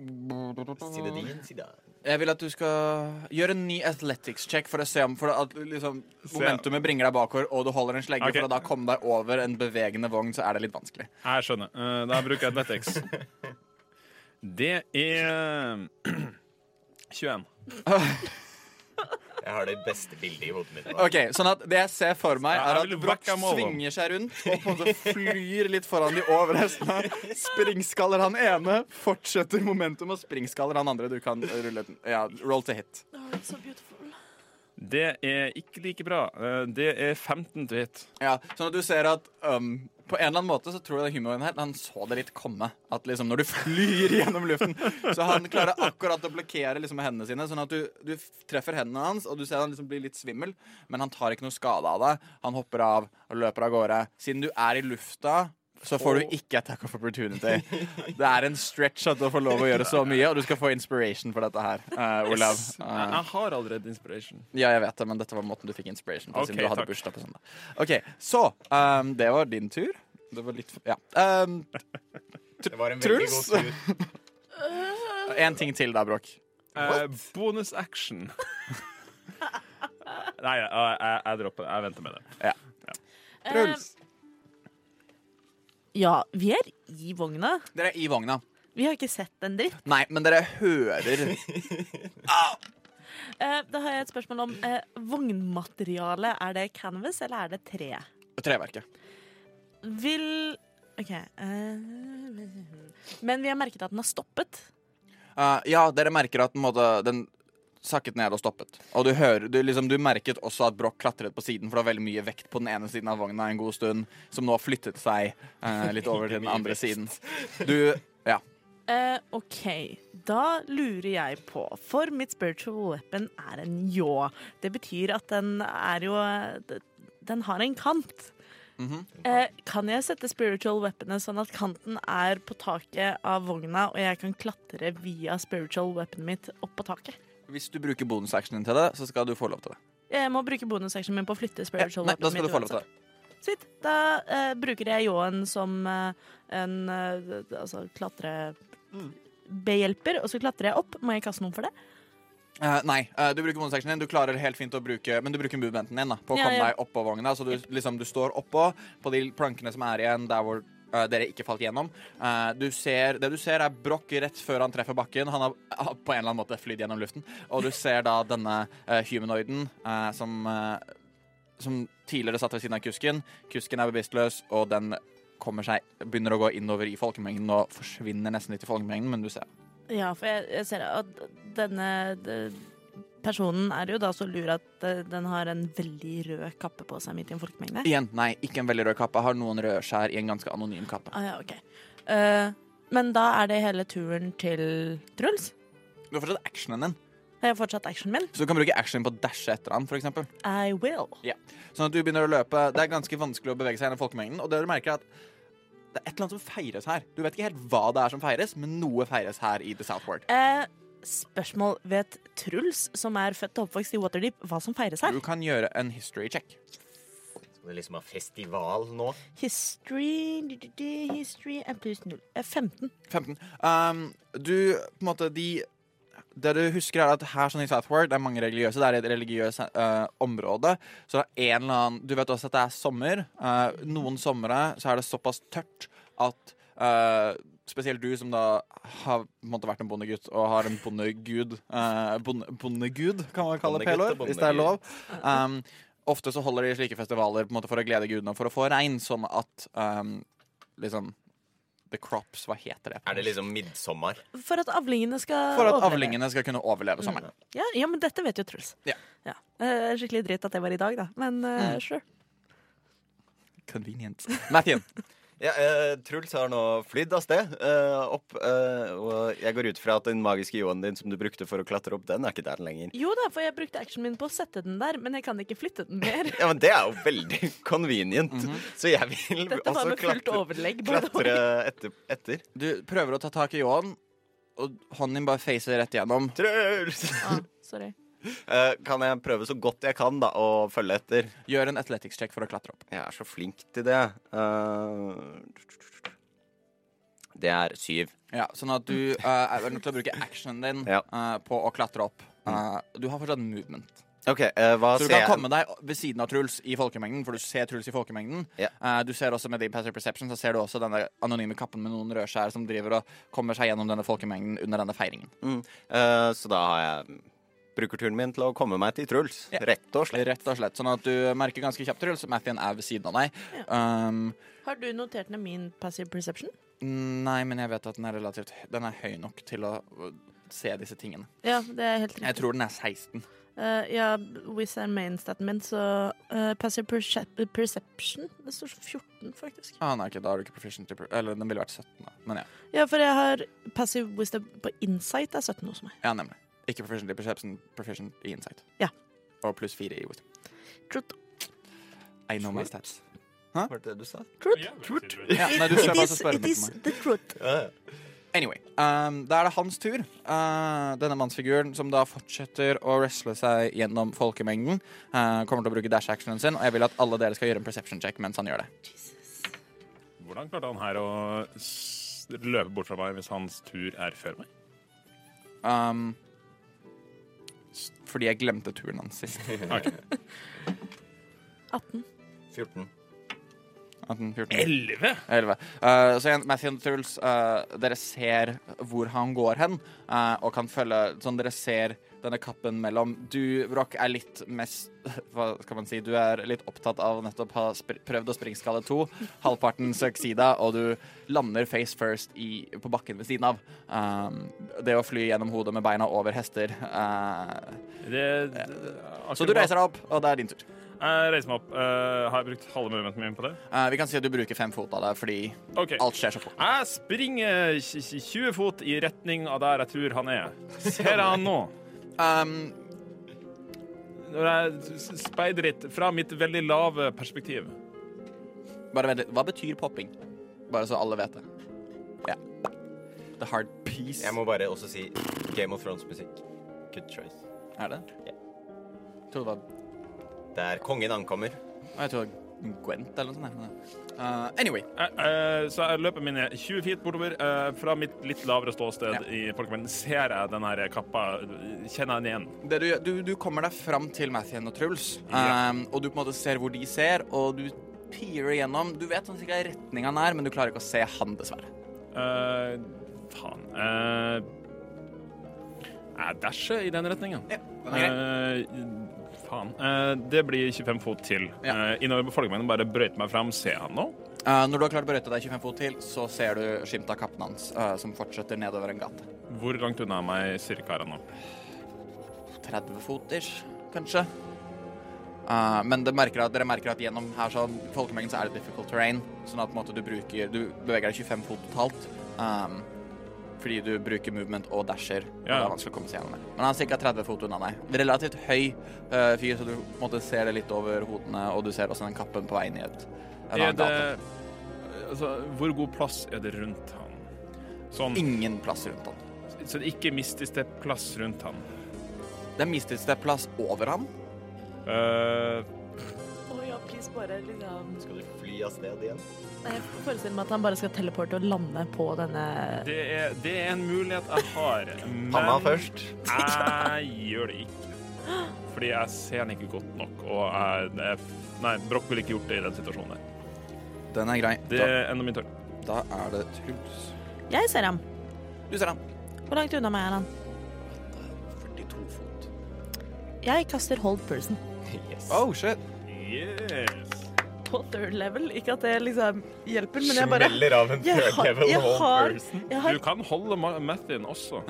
Side din, side
Jeg vil at du skal gjøre en ny athletics check for å se om for at liksom, momentumet bringer deg bakover, og du holder en slegge
Ok.
for å da komme deg over en bevegende vogn, så er det litt vanskelig.
Jeg skjønner. Eh, da bruker jeg Athletics. Det er 21.
Jeg har det beste bildet i hodet mitt. nå.
Ok, sånn at Det jeg ser for meg,
Ja,
er
jeg
at
vil
Broch
wacka meg over.
svinger seg rundt og på en måte flyr litt foran de over hestene. Springskaller han ene, fortsetter momentum og springskaller han andre. Du kan rulle den. Ja, roll to hit.
so beautiful.
Det er ikke like bra. Eh, Det er 15 til hit.
Ja, sånn at du ser at um, på en eller annen måte så tror jeg humoren her Han så det litt komme. At liksom når du flyr gjennom luften Så han klarer akkurat å blokkere liksom med hendene sine. Sånn at du, du treffer hendene hans, og du ser han liksom blir litt svimmel. Men han tar ikke noe skade av deg. Han hopper av og løper av gårde. Siden du er i lufta så får du ikke attack of opportunity. Det er en stretch at du får lov å gjøre så mye, og du skal få inspiration for dette her, eh, Olav.
Yes. Jeg-
Eh,
Jeg har allerede inspiration.
ja, jeg vet det, men dette var måten du fikk inspiration på. siden
Ok,
du hadde
takk.
bursdag på søndag. Ok, Så ehm, det var din tur. Det var litt Ja. Ehm,
Det var en veldig
Truls?
god tur.
en ting til da, Bråk.
Eh, bonus action. Nei, jeg, jeg, jeg dropper det. Jeg venter med det.
Truls.
Eh, Ja, vi er i vogna.
Dere er i vogna.
Vi har ikke sett en dritt.
Nei, men dere hører
Eh, da har jeg et spørsmål om eh, vognmaterialet. Er det canvas, eller er det tre?
treverket.
Vil OK. eh, men vi har merket at den har stoppet.
Eh, ja, dere merker at på en måte, den sakket ned og stoppet. Og du hører, du, liksom, du merket også at Broch klatret på siden, for det var veldig mye vekt på den ene siden av vogna en god stund, som nå flyttet seg eh, litt over til den andre siden. Du Ja.
Eh, OK, da lurer jeg på For mitt spiritual weapon er en ljå. Det betyr at den er jo d- Den har en kant.
Mhm.
eh, kan jeg sette spiritual weaponet sånn at kanten er på taket av vogna, og jeg kan klatre via spiritual weaponet mitt opp på taket?
Hvis du bruker bonusactionen til det, så skal du få lov til det.
Jeg må bruke bonusactionen min på å flytte
Ja,
spiritual
nei, da
weaponet
skal du
mitt.
få lov til det.
uansett. Sitt. Da eh, bruker jeg ljåen som eh, en eh, d- altså klatre...
Mm.
Behjelper, og så klatrer jeg opp. Må jeg kaste noen for det?
Eh, nei, eh, du bruker bonusactionen din. Du klarer helt fint å bruke Men du bruker movementen din da på å
Ja,
komme
ja.
deg oppå vogna. Så du, liksom, du står oppå på de plankene som er igjen der hvor eh, dere ikke falt gjennom. Eh, du ser, det du ser, er Broch rett før han treffer bakken. Han har har på en eller annen måte flydd gjennom luften. Og du ser da denne eh, humanoiden eh, som eh, som tidligere satt ved siden av kusken. Kusken er bevisstløs, og den kommer seg, begynner å gå innover i folkemengden og forsvinner nesten litt i folkemengden, men du ser
Ja, for jeg, jeg ser at denne de, personen er jo da så lur at eh, den har en veldig rød kappe på seg midt i en folkemengde.
Igjen, nei, ikke en veldig rød kappe. Har noen røde skjær i en ganske anonym kappe.
Ah, ja, ok. Eh, men da er det hele turen til Truls.
Du har fortsatt actionen din,
Har jeg fortsatt actionen min?
så du kan bruke actionen på å dashe etter han, for eksempel.
I will.
Sånn at du begynner å løpe. Det er ganske vanskelig å bevege seg gjennom folkemengden, og det du merker er at det er et eller annet som feires her. Du vet ikke helt hva det er som feires, men noe feires her i The Southward.
Eh, spørsmål vet Truls, som er født og oppvokst i Waterdeep, hva som feires her?
Du kan gjøre en history check.
Skal vi liksom ha festival nå?
History, du, du, du, history, en pluss null. Eh, 15.
15. Um, du, på en måte, de Det du husker, er at her sånn i Southward, det er mange religiøse, det er et religiøst eh, område, så det er en eller annen Du vet også at det er sommer. eh, noen somre så er det såpass tørt at eh, Spesielt du som da har på en måte vært en bondegutt og har en bondegud eh, bonde, Bondegud, kan man kalle
Bondegutt og
pelår, hvis det er
bondegud.
lov. Um, ofte så holder de slike festivaler på en måte for å glede gudene og for å få regn, sånn at um, liksom The crops, hva heter det? på
Er det
norsk?
liksom midtsommer?
For at avlingene skal
For at
overleve.
avlingene skal kunne overleve sommeren.
Mm.
Ja, ja, men dette vet jo Truls.
Ja.
Eh, skikkelig dritt at det var i dag, da. Men eh,
Mm.
sure.
Convenient. Mathien,
Ja, eh, Truls har nå flydd av sted eh, opp, eh, og jeg går ut fra at den magiske ljåen din som du brukte for å klatre opp, den er ikke der lenger.
Jo da, for jeg brukte actionen min på å sette den der, men jeg kan ikke flytte den mer.
Ja, men Det er jo veldig convenient,
Mhm.
så jeg vil
Dette var
Altså,
også
med fullt
klatre,
overlegg. by the way.
klatre etter, etter.
du prøver å ta tak i ljåen, og hånden din bare facer rett gjennom.
Truls!
Ah, sorry.
Eh, kan jeg prøve så godt jeg kan da å følge etter?
Gjør en athletics check for å klatre opp.
Jeg er så flink til det. Eh, det er syv.
Ja, sånn at du eh, er nødt til å bruke actionen din
Ja.
eh, på å klatre opp. Eh, du har fortsatt movement.
OK, eh, hva
Så du kan
ser jeg?
komme deg ved siden av Truls i folkemengden, for du ser Truls i folkemengden.
Ja.
Eh, du ser også med din passive perception Så ser du også denne anonyme kappen med noen rødskjær som driver og kommer seg gjennom denne folkemengden under denne feiringen.
Mm. Eh, så da har jeg brukerturen min til å komme meg til Truls.
Ja.
Rett og slett.
Rett og slett. Sånn at du merker ganske kjapt, Truls, Mathien er ved siden av deg. Um,
Har du notert ned min passive perception?
nei, men jeg vet at den er relativt Den er høy nok til å uh, se disse tingene.
Ja, det er helt
Jeg
riktig.
tror den er 16.
Eh, ja, Wiz er mainstaten min, så eh, passive percep perception Det står 14, faktisk.
Ah, nei, ok, da er du ikke proficient i pro- Eller den ville vært 17, da. Men ja.
Ja, for jeg har passive wisdom på insight er 17 hos meg.
ja, nemlig. Ikke proficient i perception, proficient i insight.
Ja.
Og pluss 4 i wisdom.
Truth.
I know my stats.
Var det det du sa?
Ja, nei, du slipper
It
altså å
is,
spørre
it
meg.
is the truth.
Anyway, ehm, da er det hans tur. Eh, denne mannsfiguren som da fortsetter å wrestle seg gjennom folkemengden. eh, kommer til å bruke dash-actionen sin, og jeg vil at alle dere skal gjøre en perception check mens han gjør det.
Hvordan klarte han her å s- løpe bort fra meg hvis hans tur er før meg?
Ehm, s- fordi jeg glemte turen hans sist.
18.
14.
18, 14,
Elleve?
11. Eh, så igjen, Matthew og Truls, eh, dere ser hvor han går hen, eh, og kan følge Sånn dere ser denne kappen mellom Du, Broch, er litt mest Hva skal man si? Du er litt opptatt av å nettopp ha spr- prøvd å springskalle to. Halvparten søker sida, og du lander face first i, på bakken ved siden av. Um, det å fly gjennom hodet med beina over hester. eh,
Det, det,
så du reiser deg opp, og det er din tur.
Jeg reiser meg opp. Eh, har jeg brukt halve momenten min på det?
Eh, vi kan si at du bruker fem fot av deg fordi
OK.
alt skjer så fort.
Jeg springer tj- tj- 20 fot i retning av der jeg tror han er. Ser jeg han nå?
Um,
Når jeg s- s- speider litt fra mitt veldig lave perspektiv.
Bare vent litt. Hva betyr popping? Bare så alle vet det. Ja. The hard piece.
Jeg må bare også si Game of Thrones-musikk. Good choice.
Er det?
Ja.
Jeg trodde det var
Det er kongen ankommer.
Å, Jeg tror det var Gwent eller noe sånt. nei, men, Uh, anyway.
Jeg, eh, så jeg løper mine 20 feet bortover. eh, fra mitt litt lavere ståsted i folkemengden ser jeg den her kappa. Kjenner jeg den igjen?
Det du, gjør- du, du kommer deg fram til Mathien og Truls,
Ja.
um, og du på en måte ser hvor de ser, og du peerer igjennom. Du vet sånn cirka retninga han er, men du klarer ikke å se han, dessverre.
Eh, faen. Eh, jeg dasher i den retningen.
Ja, den er grei.
Eh, faen. Eh, det blir 25 fot til.
Ja.
Eh, innover på folkemengden bare brøyte meg fram. Ser jeg han nå?
Uh, når du har klart å brøyte deg 25 fot til, så ser du skimtet av kappen hans, uh, som fortsetter nedover en gate.
Hvor langt unna meg cirka er han nå?
30 foters, kanskje. Eh, men det merker at, dere merker at gjennom her sånn, folkemengden så er det difficult terrain. Sånn at på en måte, du, bruker, du beveger deg 25 fot totalt. ehm, fordi du bruker movement og dasher. Og det
Ja.
er vanskelig å komme seg gjennom det. Men han er ca. 30 fot unna deg. Relativt høy eh, fyr, så du på en måte, ser det litt over hodene, og du ser også den kappen på vei inn i et en
Er
annen
det
gate.
Altså, hvor god plass er det rundt han? Sånn,
Ingen plass rundt han.
så det er ikke mistes det plass rundt han.
Det er mistet seg plass over han.
Eh,
Å ja, please, bare liksom
Skal du fly av sted igjen?
Jeg forestiller meg at han bare skal teleporte og lande på denne
det, er, det er en mulighet jeg har, men
Panna først.
jeg gjør det ikke. Fordi jeg ser han ikke godt nok, og jeg, jeg Nei, Broch ville ikke gjort det i den situasjonen der.
Den er grei.
Det er enda min tur.
Da, da er det Truls.
Jeg ser ham.
Du ser han.
Hvor langt unna meg er han?
42 fot.
Jeg kaster hold person.
Yes.
Oh, shit.
Yes.
På third level. Ikke at det liksom hjelper, men jeg bare
Smeller av en
jeg
third
har,
level
jeg har,
home person.
jeg
Du
har,
kan holde Ma- Mathin også.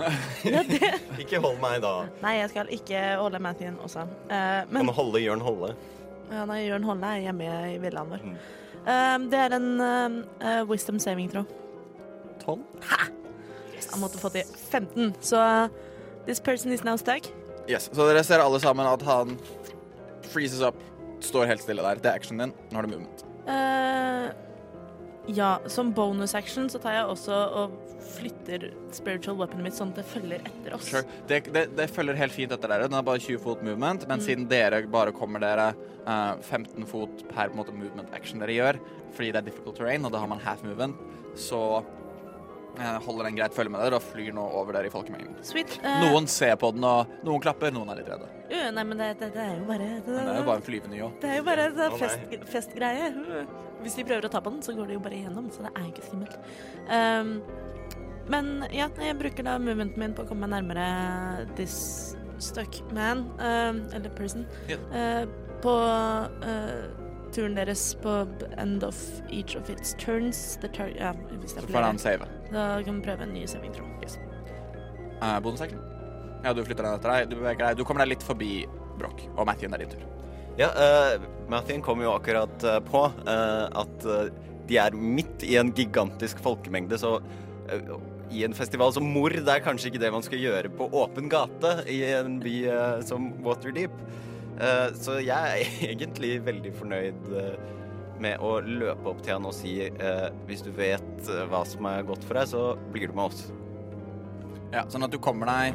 Ikke hold meg da.
Nei, jeg skal ikke holde Mathien også. Eh, men
Kan holde Jørn Holle.
Ja, nei, Jørn Holle er hjemme i villaen vår. Um, det er en um, uh, wisdom saving, tro.
12?
Han måtte få til 15, så uh, this person is now stuck.
Yes, Så dere ser alle sammen at han freezes up, står helt stille der. Det er actionen din. Nå har du movement.
Uh, ja, som bonus action så tar jeg også og flytter spiritual weaponet mitt sånn at det følger etter oss.
Sure. Det, det, det følger helt fint etter dere. Den er bare 20 fot movement, men siden dere bare kommer dere eh, 15 fot per på en måte, movement action dere gjør, fordi det er difficult terrain, og da har man half movement, så eh, holder den greit følge med dere og flyr nå over dere i folkemengden.
Sweet. Uh,
Noen ser på den, og noen klapper, noen er litt redde.
jo, nei, men det, det, det er jo bare Det,
Men det er jo bare en flyvende jobb.
det er jo bare det er
Å, nei.
fest, festgreie. Hvis de prøver å ta på den, så går det jo bare igjennom, så det er jo ikke skummelt. Ehm, Um, men ja, jeg bruker da movementen min på å komme meg nærmere this stuck man, eh, eller person,
Ja.
eh, på eh, turen deres på b- end of each of its turns. The tar ja, hvis
Så
det er
får
flere.
han save.
Da kan vi prøve en ny saving, tror
Uh, Bonusaction. Ja, du flytter deg etter deg. Du beveger deg. Du kommer deg litt forbi Broch og Mathien. Det er din tur.
Ja, uh, Mathien kom jo akkurat eh, på eh, at eh, de er midt i en gigantisk folkemengde, så eh, i en festival som mord er kanskje ikke det man skal gjøre på åpen gate i en by eh, som Waterdeep. Eh, så jeg er egentlig veldig fornøyd eh, med å løpe opp til han og si eh, hvis du vet eh, hva som er godt for deg, så blir du med oss.
Ja, sånn at du kommer deg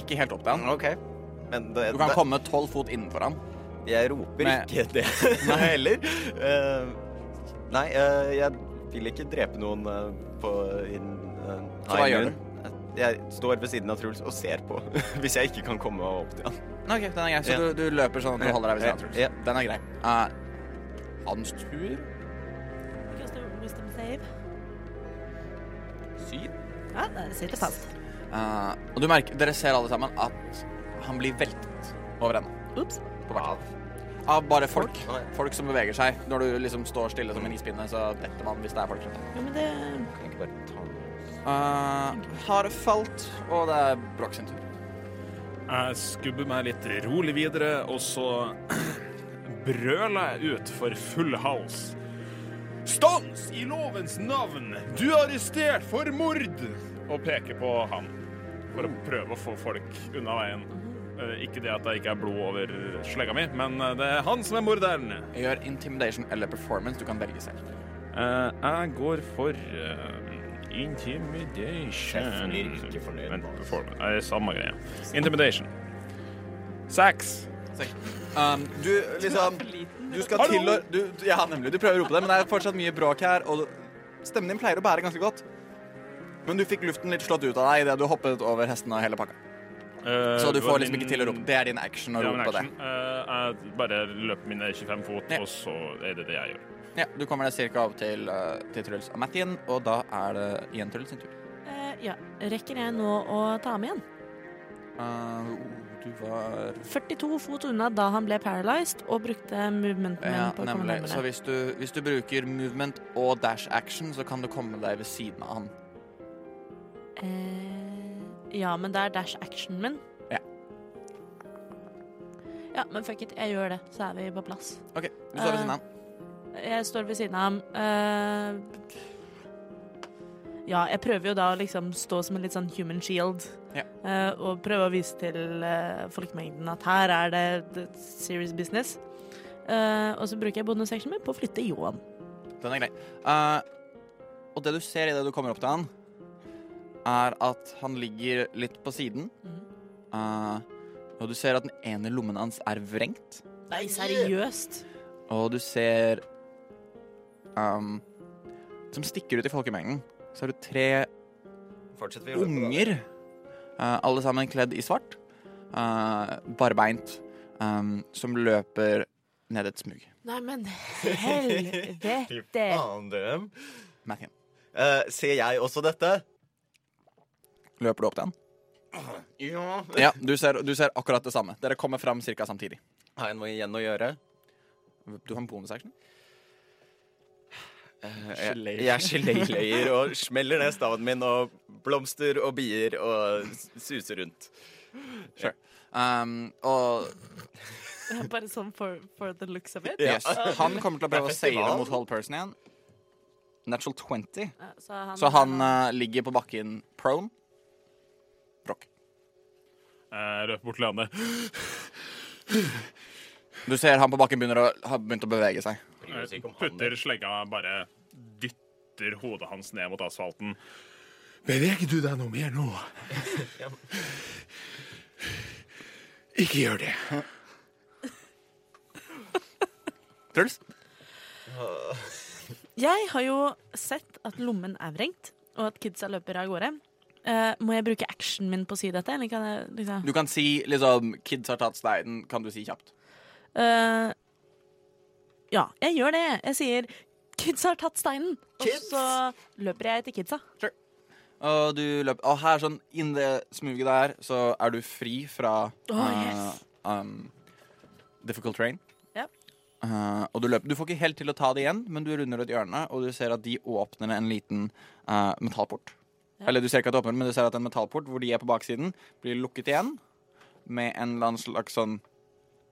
ikke helt opp til han.
OK. Men det,
Du kan
det-
komme tolv fot innenfor han.
Jeg roper
Nei.
ikke det Nei, heller. Eh, nei, eh, jeg vil ikke drepe noen eh, på in, uh,
Så hva gjør
Eh, Jeg står ved siden av Truls og ser på, hvis jeg ikke kan komme opp til han.
Ok, den er grei. Så
Ja.
du, du løper sånn at du holder deg ved siden av Truls.
Ja.
Den er grei. Eh, hans tur
jeg.
syv.
Ja, det sitter fast.
Eh, og du merker, dere ser alle sammen at han blir veltet over ende.
Ups.
På hvert fall. Av bare folk.
Folk? Nei.
Folk som beveger seg. Når du liksom står stille som en ispinne, så detter man hvis det er folk rundt deg.
Ja, men det
Kan jeg ikke bare ta den?
Uh, har falt, og det er Broch sin tur.
Jeg skubber meg litt rolig videre, og så brøler jeg ut for full hals. Stans i lovens navn! Du er arrestert for mord! Og peker på han for å prøve å få folk unna veien. Eh, Ikke det at det ikke er blod over slegga mi, men eh, det er han som er morderen.
Gjør intimidation eller performance. Du kan velge selv.
Eh, jeg går for eh, intimidation.
Sjefen blir ikke fornøyd
Vent,
med oss.
performance. Det er samme greia. Intimidation. Seks.
Um, du liksom Du skal
Hallo!
til å du, du- Ja, nemlig. Du prøver å rope det, men det er fortsatt mye bråk her, og stemmen din pleier å bære ganske godt. Men du fikk luften litt slått ut av deg idet du hoppet over hesten og hele pakka.
Eh,
Så du
det var
får liksom
min-
ikke til å rope. Det er din action å
Ja, men
rope det.
action. Eh, jeg bare løper mine 25 fot,
Ja.
og så er det det jeg gjør.
Ja, Du kommer deg cirka opp til, eh, til Truls og Mattien, og da er det igjen Truls sin tur.
eh, Ja. Rekker jeg nå å ta med igjen?
Uh, du var
42 fot unna da han ble paralyzed og brukte movementen min
Ja,
på å komme
nemlig. Så
nærmere.
hvis du, hvis du bruker movement og dash action, så kan du komme deg ved siden av han.
Eh, ja, men det er dash actionen min.
Ja.
Ja, men fuck it, jeg gjør det, så er vi på plass.
OK, du står ved siden av han.
Jeg står ved siden av ham. eh, ja, jeg prøver jo da å liksom stå som en litt sånn human shield.
Ja.
eh, og prøve å vise til eh, folkemengden at her er det, det serious business. Eh, og så bruker jeg bonusactionen min på å flytte ljåen.
Den er grei. Eh, og det du ser idet du kommer opp til han, er at han ligger litt på siden.
Mm.
Eh, og du ser at den ene lommen hans er vrengt.
Nei, seriøst?
Og du ser ehm, Som stikker ut i folkemengden, så har du tre
Fortsetter vi å løpe? da?
unger. eh, alle sammen kledd i svart. eh, barbeint. ehm, som løper ned et smug.
Nei, men helvete!
Faen, dem.
Mathien,
Eh, ser jeg også dette?
løper du opp til han?
Ja.
Ja, du ser, du ser akkurat det samme. Dere kommer fram ca. samtidig.
Har jeg noe igjen å gjøre?
Du har en bonusaction?
Jeg, jeg geléleier og smeller ned staven min, og blomster og bier og s- suser rundt.
Um, og
Bare sånn for, for the looks of it.
yes, han kommer til å prøve å
festival.
seile mot Hold Person igjen. Natural 20.
Eh, Så han,
Så han eh, ligger på bakken prone. Brokk.
Jeg Eh, løper bort til Anne.
Du ser han på bakken begynner å, har begynt å bevege seg.
Jeg Eh, putter slegga, bare dytter hodet hans ned mot asfalten. Beveger du deg noe mer nå? Ikke gjør det.
Truls?
Jeg har jo sett at lommen er vrengt, og at kidsa løper av gårde. Eh, må jeg bruke actionen min på å si dette, eller kan jeg liksom
Du kan si liksom Kids har tatt steinen, kan du si kjapt.
Eh, Ja, jeg gjør det. Jeg sier 'Kidsa har tatt steinen', og
Kids?
så løper jeg til kidsa.
Og du løper Og her, sånn inn det smuget der, så er du fri fra eh,
yes.
um, Difficult Train.
Ja.
Eh, og du løper Du får ikke helt til å ta det igjen, men du runder et hjørne, og du ser at de åpner en liten eh, metallport.
Ja.
Eller du ser ikke at det åpner, men du ser at en metallport hvor de er på baksiden, blir lukket igjen med en eller annen slags sånn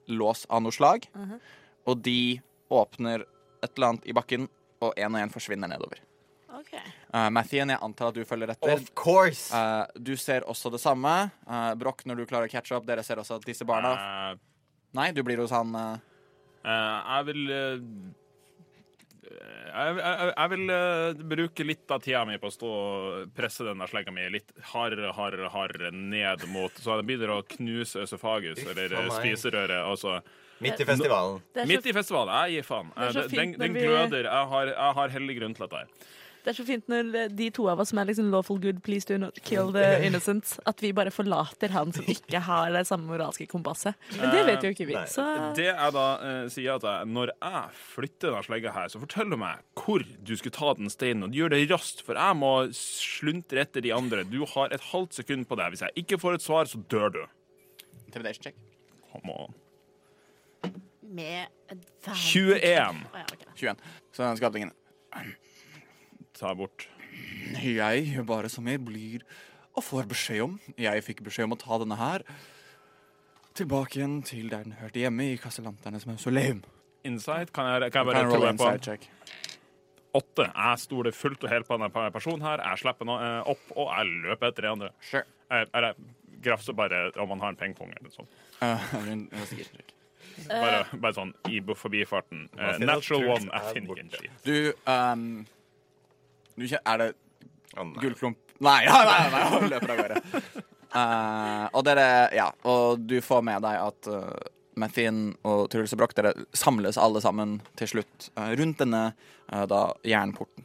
lås av noe slag.
Mhm.
Og de åpner et eller annet i bakken, og én og én forsvinner nedover.
Ok.
Uh, Mathien, jeg antar at du følger etter.
Of course!
Eh, du ser også det samme. Eh, Broch, når du klarer å catche opp, dere ser også at disse barna
Eh,
Nei, du blir hos han eh,
eh, jeg vil eh, jeg, jeg, jeg vil eh, bruke litt av tida mi på å stå og presse denne slegga mi litt hardere, hardere, hardere ned mot Så jeg begynner å knuse øsefagus,
Uff,
eller
faen meg.
spiserøret. Altså,
Midt i festivalen.
Det er,
midt
så,
i festivalen. Jeg gir faen.
Det er så
Eh,
fint
den den
når vi-
gløder. Jeg har, jeg har hellig grunn til dette. her.
det er så fint når eh, de to av oss som er liksom lawful good, please do not kill the innocent, at vi bare forlater han som ikke har det samme moralske kompasset. Men det vet jo ikke vi.
Nei.
Så
Det jeg da eh, sier at jeg, Når jeg flytter denne slegga her, så fortell meg hvor du skulle ta den steinen. Og gjør det raskt, for jeg må sluntre etter de andre. Du har et halvt sekund på deg. Hvis jeg ikke får et svar, så dør du.
Intimidation check.
Come on.
Med
21
Å ja, ok.
21. Så den skapningen
tar jeg bort.
Jeg gjør bare som jeg blir og får beskjed om. Jeg fikk beskjed om å ta denne her tilbake igjen til der den hørte hjemme, i Kasselanternes mausoleum.
Insight? Kan jeg, kan jeg
Kan
bare
jeg
tro
rolle
på
inside check?
åtte? Jeg stoler fullt og helt på denne personen her. Jeg slipper nå eh, opp, og jeg løper etter de andre. Eh,
Sure.
Jeg, jeg grafser bare om han har en pengepung eller noe sånt.
Eh, en- en sikker check.
Bare, bare sånn i forbifarten. Eh,
Man finner
natural
at
one.
er
Jeg finner ikke en
borte.
skit.
Du, ehm, du kjen- Er det
Å, nei.
Gullklump Nei, nei, nei, nei, han løper av gårde. Eh, og dere Ja, og du får med deg at uh, Mathien og Truls og Broch, dere samles alle sammen til slutt eh, rundt denne eh, da jernporten.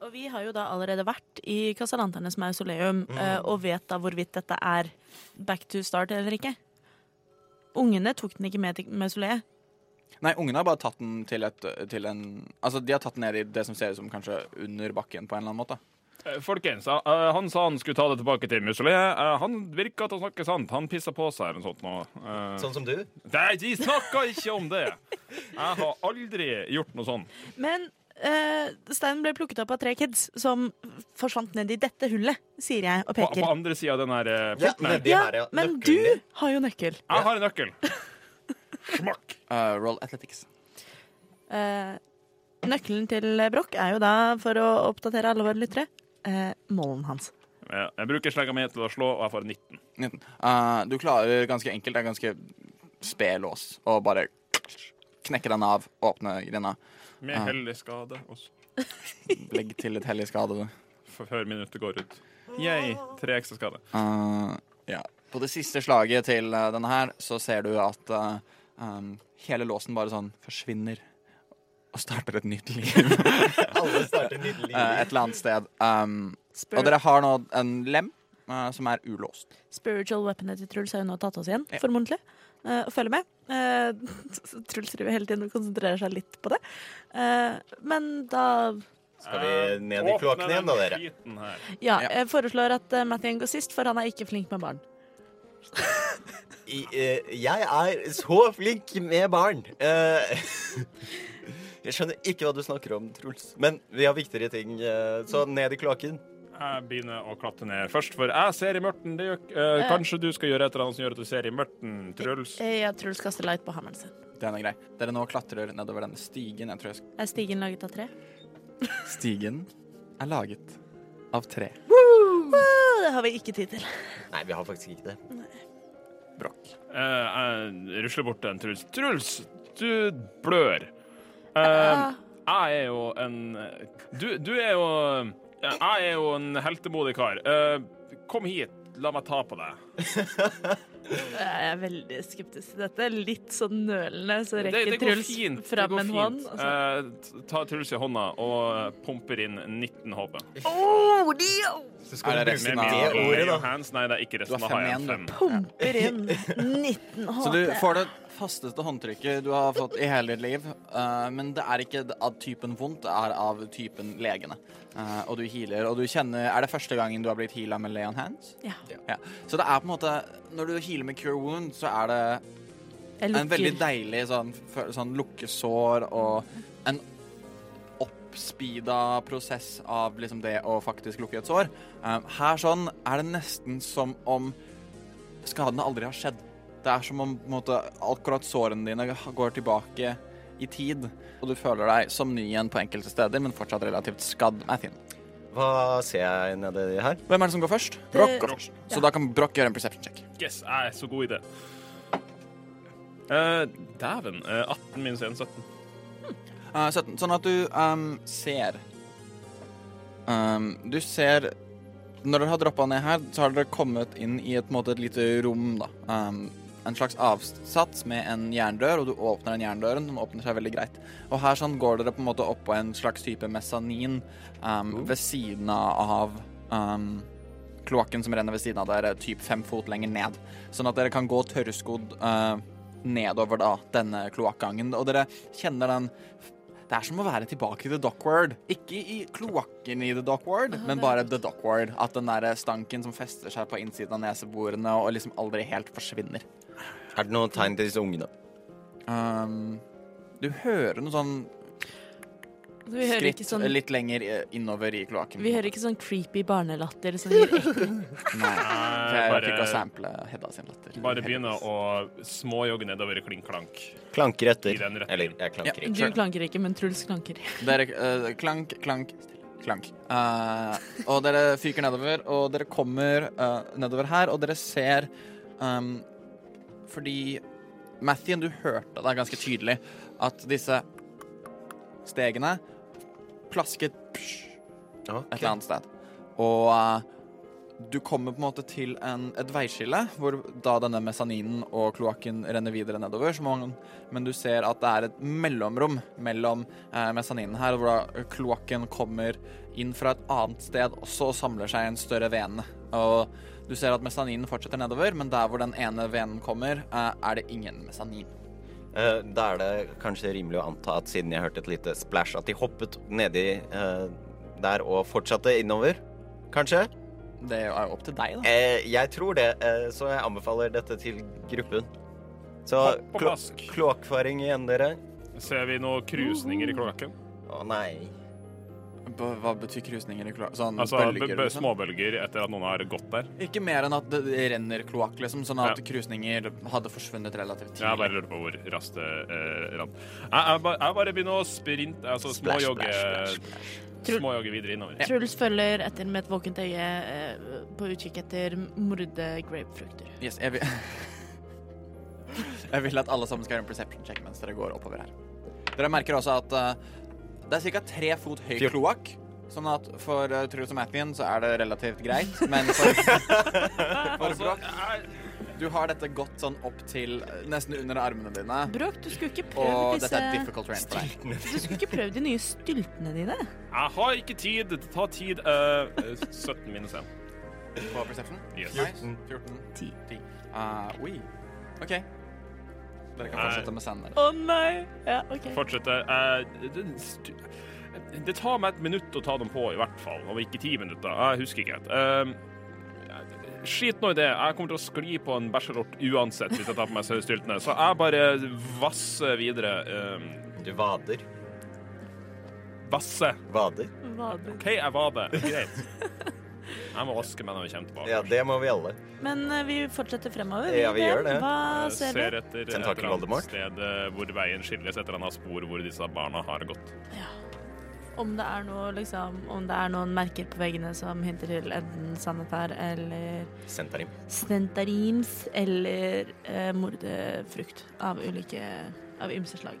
Og vi har jo da allerede vært i Casalanternes mausoleum
Mm.
eh, og vet da hvorvidt dette er back to start eller ikke. Ungene tok den ikke med til mausoleet.
Nei, ungene har bare tatt den til, et, til en Altså, de har tatt den ned i det som ser ut som kanskje under bakken på en eller annen måte.
Eh, Folkens, eh, eh, han sa han skulle ta det tilbake til museet. Han virka til å snakke sant. Han pissa på seg eller noe sånt. nå. Eh,
Sånn som du?
Nei, de snakka ikke om det! Jeg har aldri gjort noe sånn. sånt.
Men eh, steinen ble plukket opp av tre kids som forsvant ned i dette hullet, sier jeg og
På, på
peker.
andre sida av den her eh,
Ja,
porten her.
nedi her, ja.
men
Nøkkelen
du
din.
har jo nøkkel.
Jeg har en nøkkel. Smakk!
Eh, roll Athletics.
Eh, nøkkelen til Broch er jo da, for å oppdatere alle våre lyttere, eh, målen hans.
Eh, Jeg bruker slegga mi til å slå, og jeg får 19.
19. Eh, du klarer ganske enkelt, det er ganske sped lås, å bare knekke den av, åpne grinda,
Med hellig skade også.
legge til et hellig skade.
f- Før minuttet går ut. Yay. Tre ekstra skade.
Eh, ja. På det siste slaget til eh, denne her, så ser du at eh, um, hele låsen bare sånn forsvinner og starter et nytt liv eh,
Alle starter nydelig.
et eller annet sted. Um, og
Spør-
dere har nå en lem eh, som er ulåst.
Spiritual weaponet til Truls har jo nå tatt oss igjen, formodentlig. eh, og følger med. Eh, Truls driver hele tiden og konsentrerer seg litt på det. Eh, men da
Skal
Eh,
vi ned i kloakken igjen da, dere?
dere?
Ja,
Ja.
jeg foreslår at uh, Mathien går sist, for han er ikke flink med barn.
I, eh, jeg er så flink med barn. Eh, jeg skjønner ikke hva du snakker om, Truls. Men vi har viktigere ting, eh, så ned i kloakken.
Jeg begynner å klatre ned først, for jeg ser i mørten. Det gjør, eh, kanskje du skal gjøre et eller annet som gjør at du ser i mørten, Truls?
Eh, ja, Truls kaster light på hammeren sin.
Den er grei. Dere nå klatrer nedover denne stigen. Jeg tror jeg
Er stigen laget av tre?
skal... Stigen er laget av tre.
Å, det har vi ikke tid til.
Nei, vi har faktisk ikke det.
Brokk.
Eh, jeg rusler bort til en Truls. Truls, du blør. Eh,
Ah.
jeg er jo en eh, Du, du er jo ja, Jeg er jo en heltemodig kar. Eh, kom hit, la meg ta på deg.
Jeg er veldig skeptisk til dette. Litt sånn nølende, så
Det,
rekker
det går
Truls
fint. Det
fram
går
en hånd. altså?
fint. Eh, ta Truls i hånda og eh, pumper inn 19 HP.
Så
Er det
du
resten
bruke det
av-
mine
ordet,
EU
da.
hands. Nei, det er ikke resten.
Du har
Da har jeg
fem
en
igjen,
fem.
Pumper inn 19
Så du
HP.
får det fasteste håndtrykket du har fått i hele ditt liv. Eh, men det er ikke av typen vondt, det er av typen legene. Eh, og du healer, og du kjenner Er det første gangen du har blitt heala med lay on hands?
Ja.
Ja. Så det er på en måte Når du healer med cure wound, så er det
Jeg
en veldig
lukker.
deilig sånn, fø- sånn lukkesår og en oppspeeda prosess av liksom det å faktisk lukke et sår. Um, her sånn er det nesten som om skadene aldri har skjedd. Det er som om på en måte, akkurat sårene dine går tilbake i tid, og du føler deg som ny igjen på enkelte steder, men fortsatt relativt skadd. Athin.
Hva ser jeg nedi her?
Hvem er det som går først? Brokk går først.
ja.
Så da kan Brokk gjøre en perception check.
Yes, jeg er så god i det. Eh, Dæven. eh, 18 minus 1, 17.
Eh, 17. Sånn at du ehm, ser Ehm, Du ser Når dere har droppa ned her, så har dere kommet inn i et, på en måte, et lite rom. da Ehm, En slags avsats med en jerndør, og du åpner den jerndøren. Den åpner seg veldig greit. Og her sånn går dere på en måte opp på en slags type mezzanin ehm, ved siden av ehm, kloakken som renner ved siden av dere, typ fem fot lenger ned. Sånn at dere kan gå tørrskodd eh, nedover da denne kloakkgangen. Og dere kjenner den det er som å være tilbake i The Dockward. Ikke i kloakken i The Dockward, men bare The Dockward. At den der stanken som fester seg på innsiden av neseborene og liksom aldri helt forsvinner.
Er det noen tegn til disse ungene?
Um, du hører noe sånn
Vi hører
skritt
ikke sånn,
litt lenger eh, innover i kloakken.
vi hører ikke sånn creepy barnelatter som gir ekkel
Nei, for jeg
bare-
fikk å sample Hedda sin latter.
Bare begynne å småjogge nedover klinkklank.
Klanker etter.
I den retningen.
Eller, jeg klanker
Ja.
ikke.
Du klanker ikke, men Truls klanker.
Dere, eh, klank, klank, klank. Eh, og dere fyker nedover, og dere kommer eh, nedover her, og dere ser ehm, Fordi Mathien, du hørte det ganske tydelig at disse stegene plasket psh, et eller annet sted. Og eh, du kommer på en måte til en, et veiskille, hvor da denne mesaninen og kloakken renner videre nedover. Som man, men du ser at det er et mellomrom mellom eh, mesaninen her, hvor da kloakken kommer inn fra et annet sted også og samler seg i en større vene. Og du ser at mesaninen fortsetter nedover, men der hvor den ene venen kommer, eh, er det ingen mesanin.
Eh, Da er det kanskje rimelig å anta at siden jeg hørte et lite splash, at de hoppet nedi eh, der og fortsatte innover. Kanskje?
Det er jo opp til deg, da.
Eh, jeg tror det, eh, så jeg anbefaler dette til gruppen. Så
Hopp og
klo
plask.
kloakkfaring igjen, dere.
Ser vi noen krusninger i kloakken?
Å nei.
B hva betyr krusninger i kloakken? Sånn
Altså b
bølger?
b
liksom?
småbølger etter at noen har gått der?
Ikke mer enn at det renner kloakk, liksom, sånn at
Ja.
krusninger hadde forsvunnet relativt tidlig.
Jeg bare lurer på hvor raskt det eh, rant. Jeg, jeg, ba- jeg bare begynner å sprinte, altså
Splash,
småjogge
splash,
Tror-
Småjogge videre innover.
Truls følger etter med et våkent øye eh, på utkikk etter mordede grapefrukter.
Yes, jeg vil... jeg vil at alle sammen skal gjøre en perception check mens dere går oppover her. Dere merker også at eh, det er ca. tre fot høy
Fjorten.
kloakk. Sånn at for uh, Truls og Mathien så er det relativt greit, men for, for Broch Du har dette godt sånn opp til eh, nesten under armene dine,
Bråk, du skulle ikke
og
prøvd
dette er
disse
difficult terrain for deg.
Du skulle ikke prøvd de nye styltene dine.
Jeg har ikke tid. Det tar tid. eh, 17 minus 1.
På perception?
Yes.
Nice. 14. 10. Eh, oi. OK. Dere kan
Nei.
fortsette med senden.
Å nei! Ja, OK.
Fortsette. Eh, det, stu- det tar meg et minutt å ta dem på, i hvert fall. Om ikke ti minutter. Jeg husker ikke helt. Eh, skit nå i det. Jeg kommer til å skli på en bæsjelort uansett hvis jeg tar på meg styltene. Så jeg bare vasser videre. eh,
Du vader.
vasser.
Vader.
Vader.
OK, jeg var det. Greit. Jeg må vaske meg når vi kommer tilbake.
Ja, det må vi alle.
Men eh, vi fortsetter fremover.
Ja, vi gjør
Ben.
det.
Hva
Jeg
ser
Eh, ser
vi?
etter et
Tentakel
eller annet
Voldemort.
sted eh, hvor veien skilles, et eller annet spor hvor disse barna har gått.
Om det er noe, liksom, om det er noen merker på veggene som hinter til enten sannhet her, eller
Sentarim.
stentarims, eller eh, mordefrukt av ulike Av ymse slag.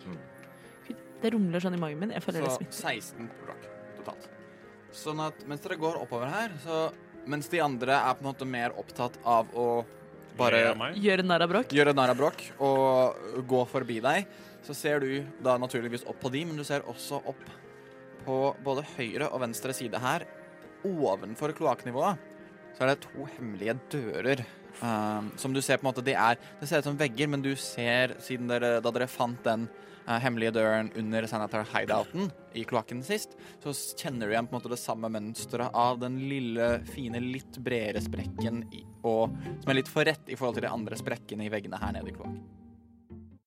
Fy, Det rumler sånn i magen min. Jeg føler det
Så
smitter.
16 rock totalt. Sånn at mens dere går oppover her, så Mens de andre er på en måte mer opptatt av å bare
Ler jeg meg?
Gjøre narr av bråk.
gjøre narr av bråk og gå forbi deg, så ser du da naturligvis opp på de, men du ser også opp på både høyre og venstre side her, ovenfor kloakknivået, så er det to hemmelige dører. eh, som du ser på en måte, de er, Det ser ut som vegger, men du ser, siden dere, da dere fant den eh, hemmelige døren under Senator Hideouten i kloakken sist, så s- kjenner du igjen på en måte det samme mønsteret av den lille, fine, litt bredere sprekken i, og, som er litt for rett i forhold til de andre sprekkene i veggene her nede i kloakken.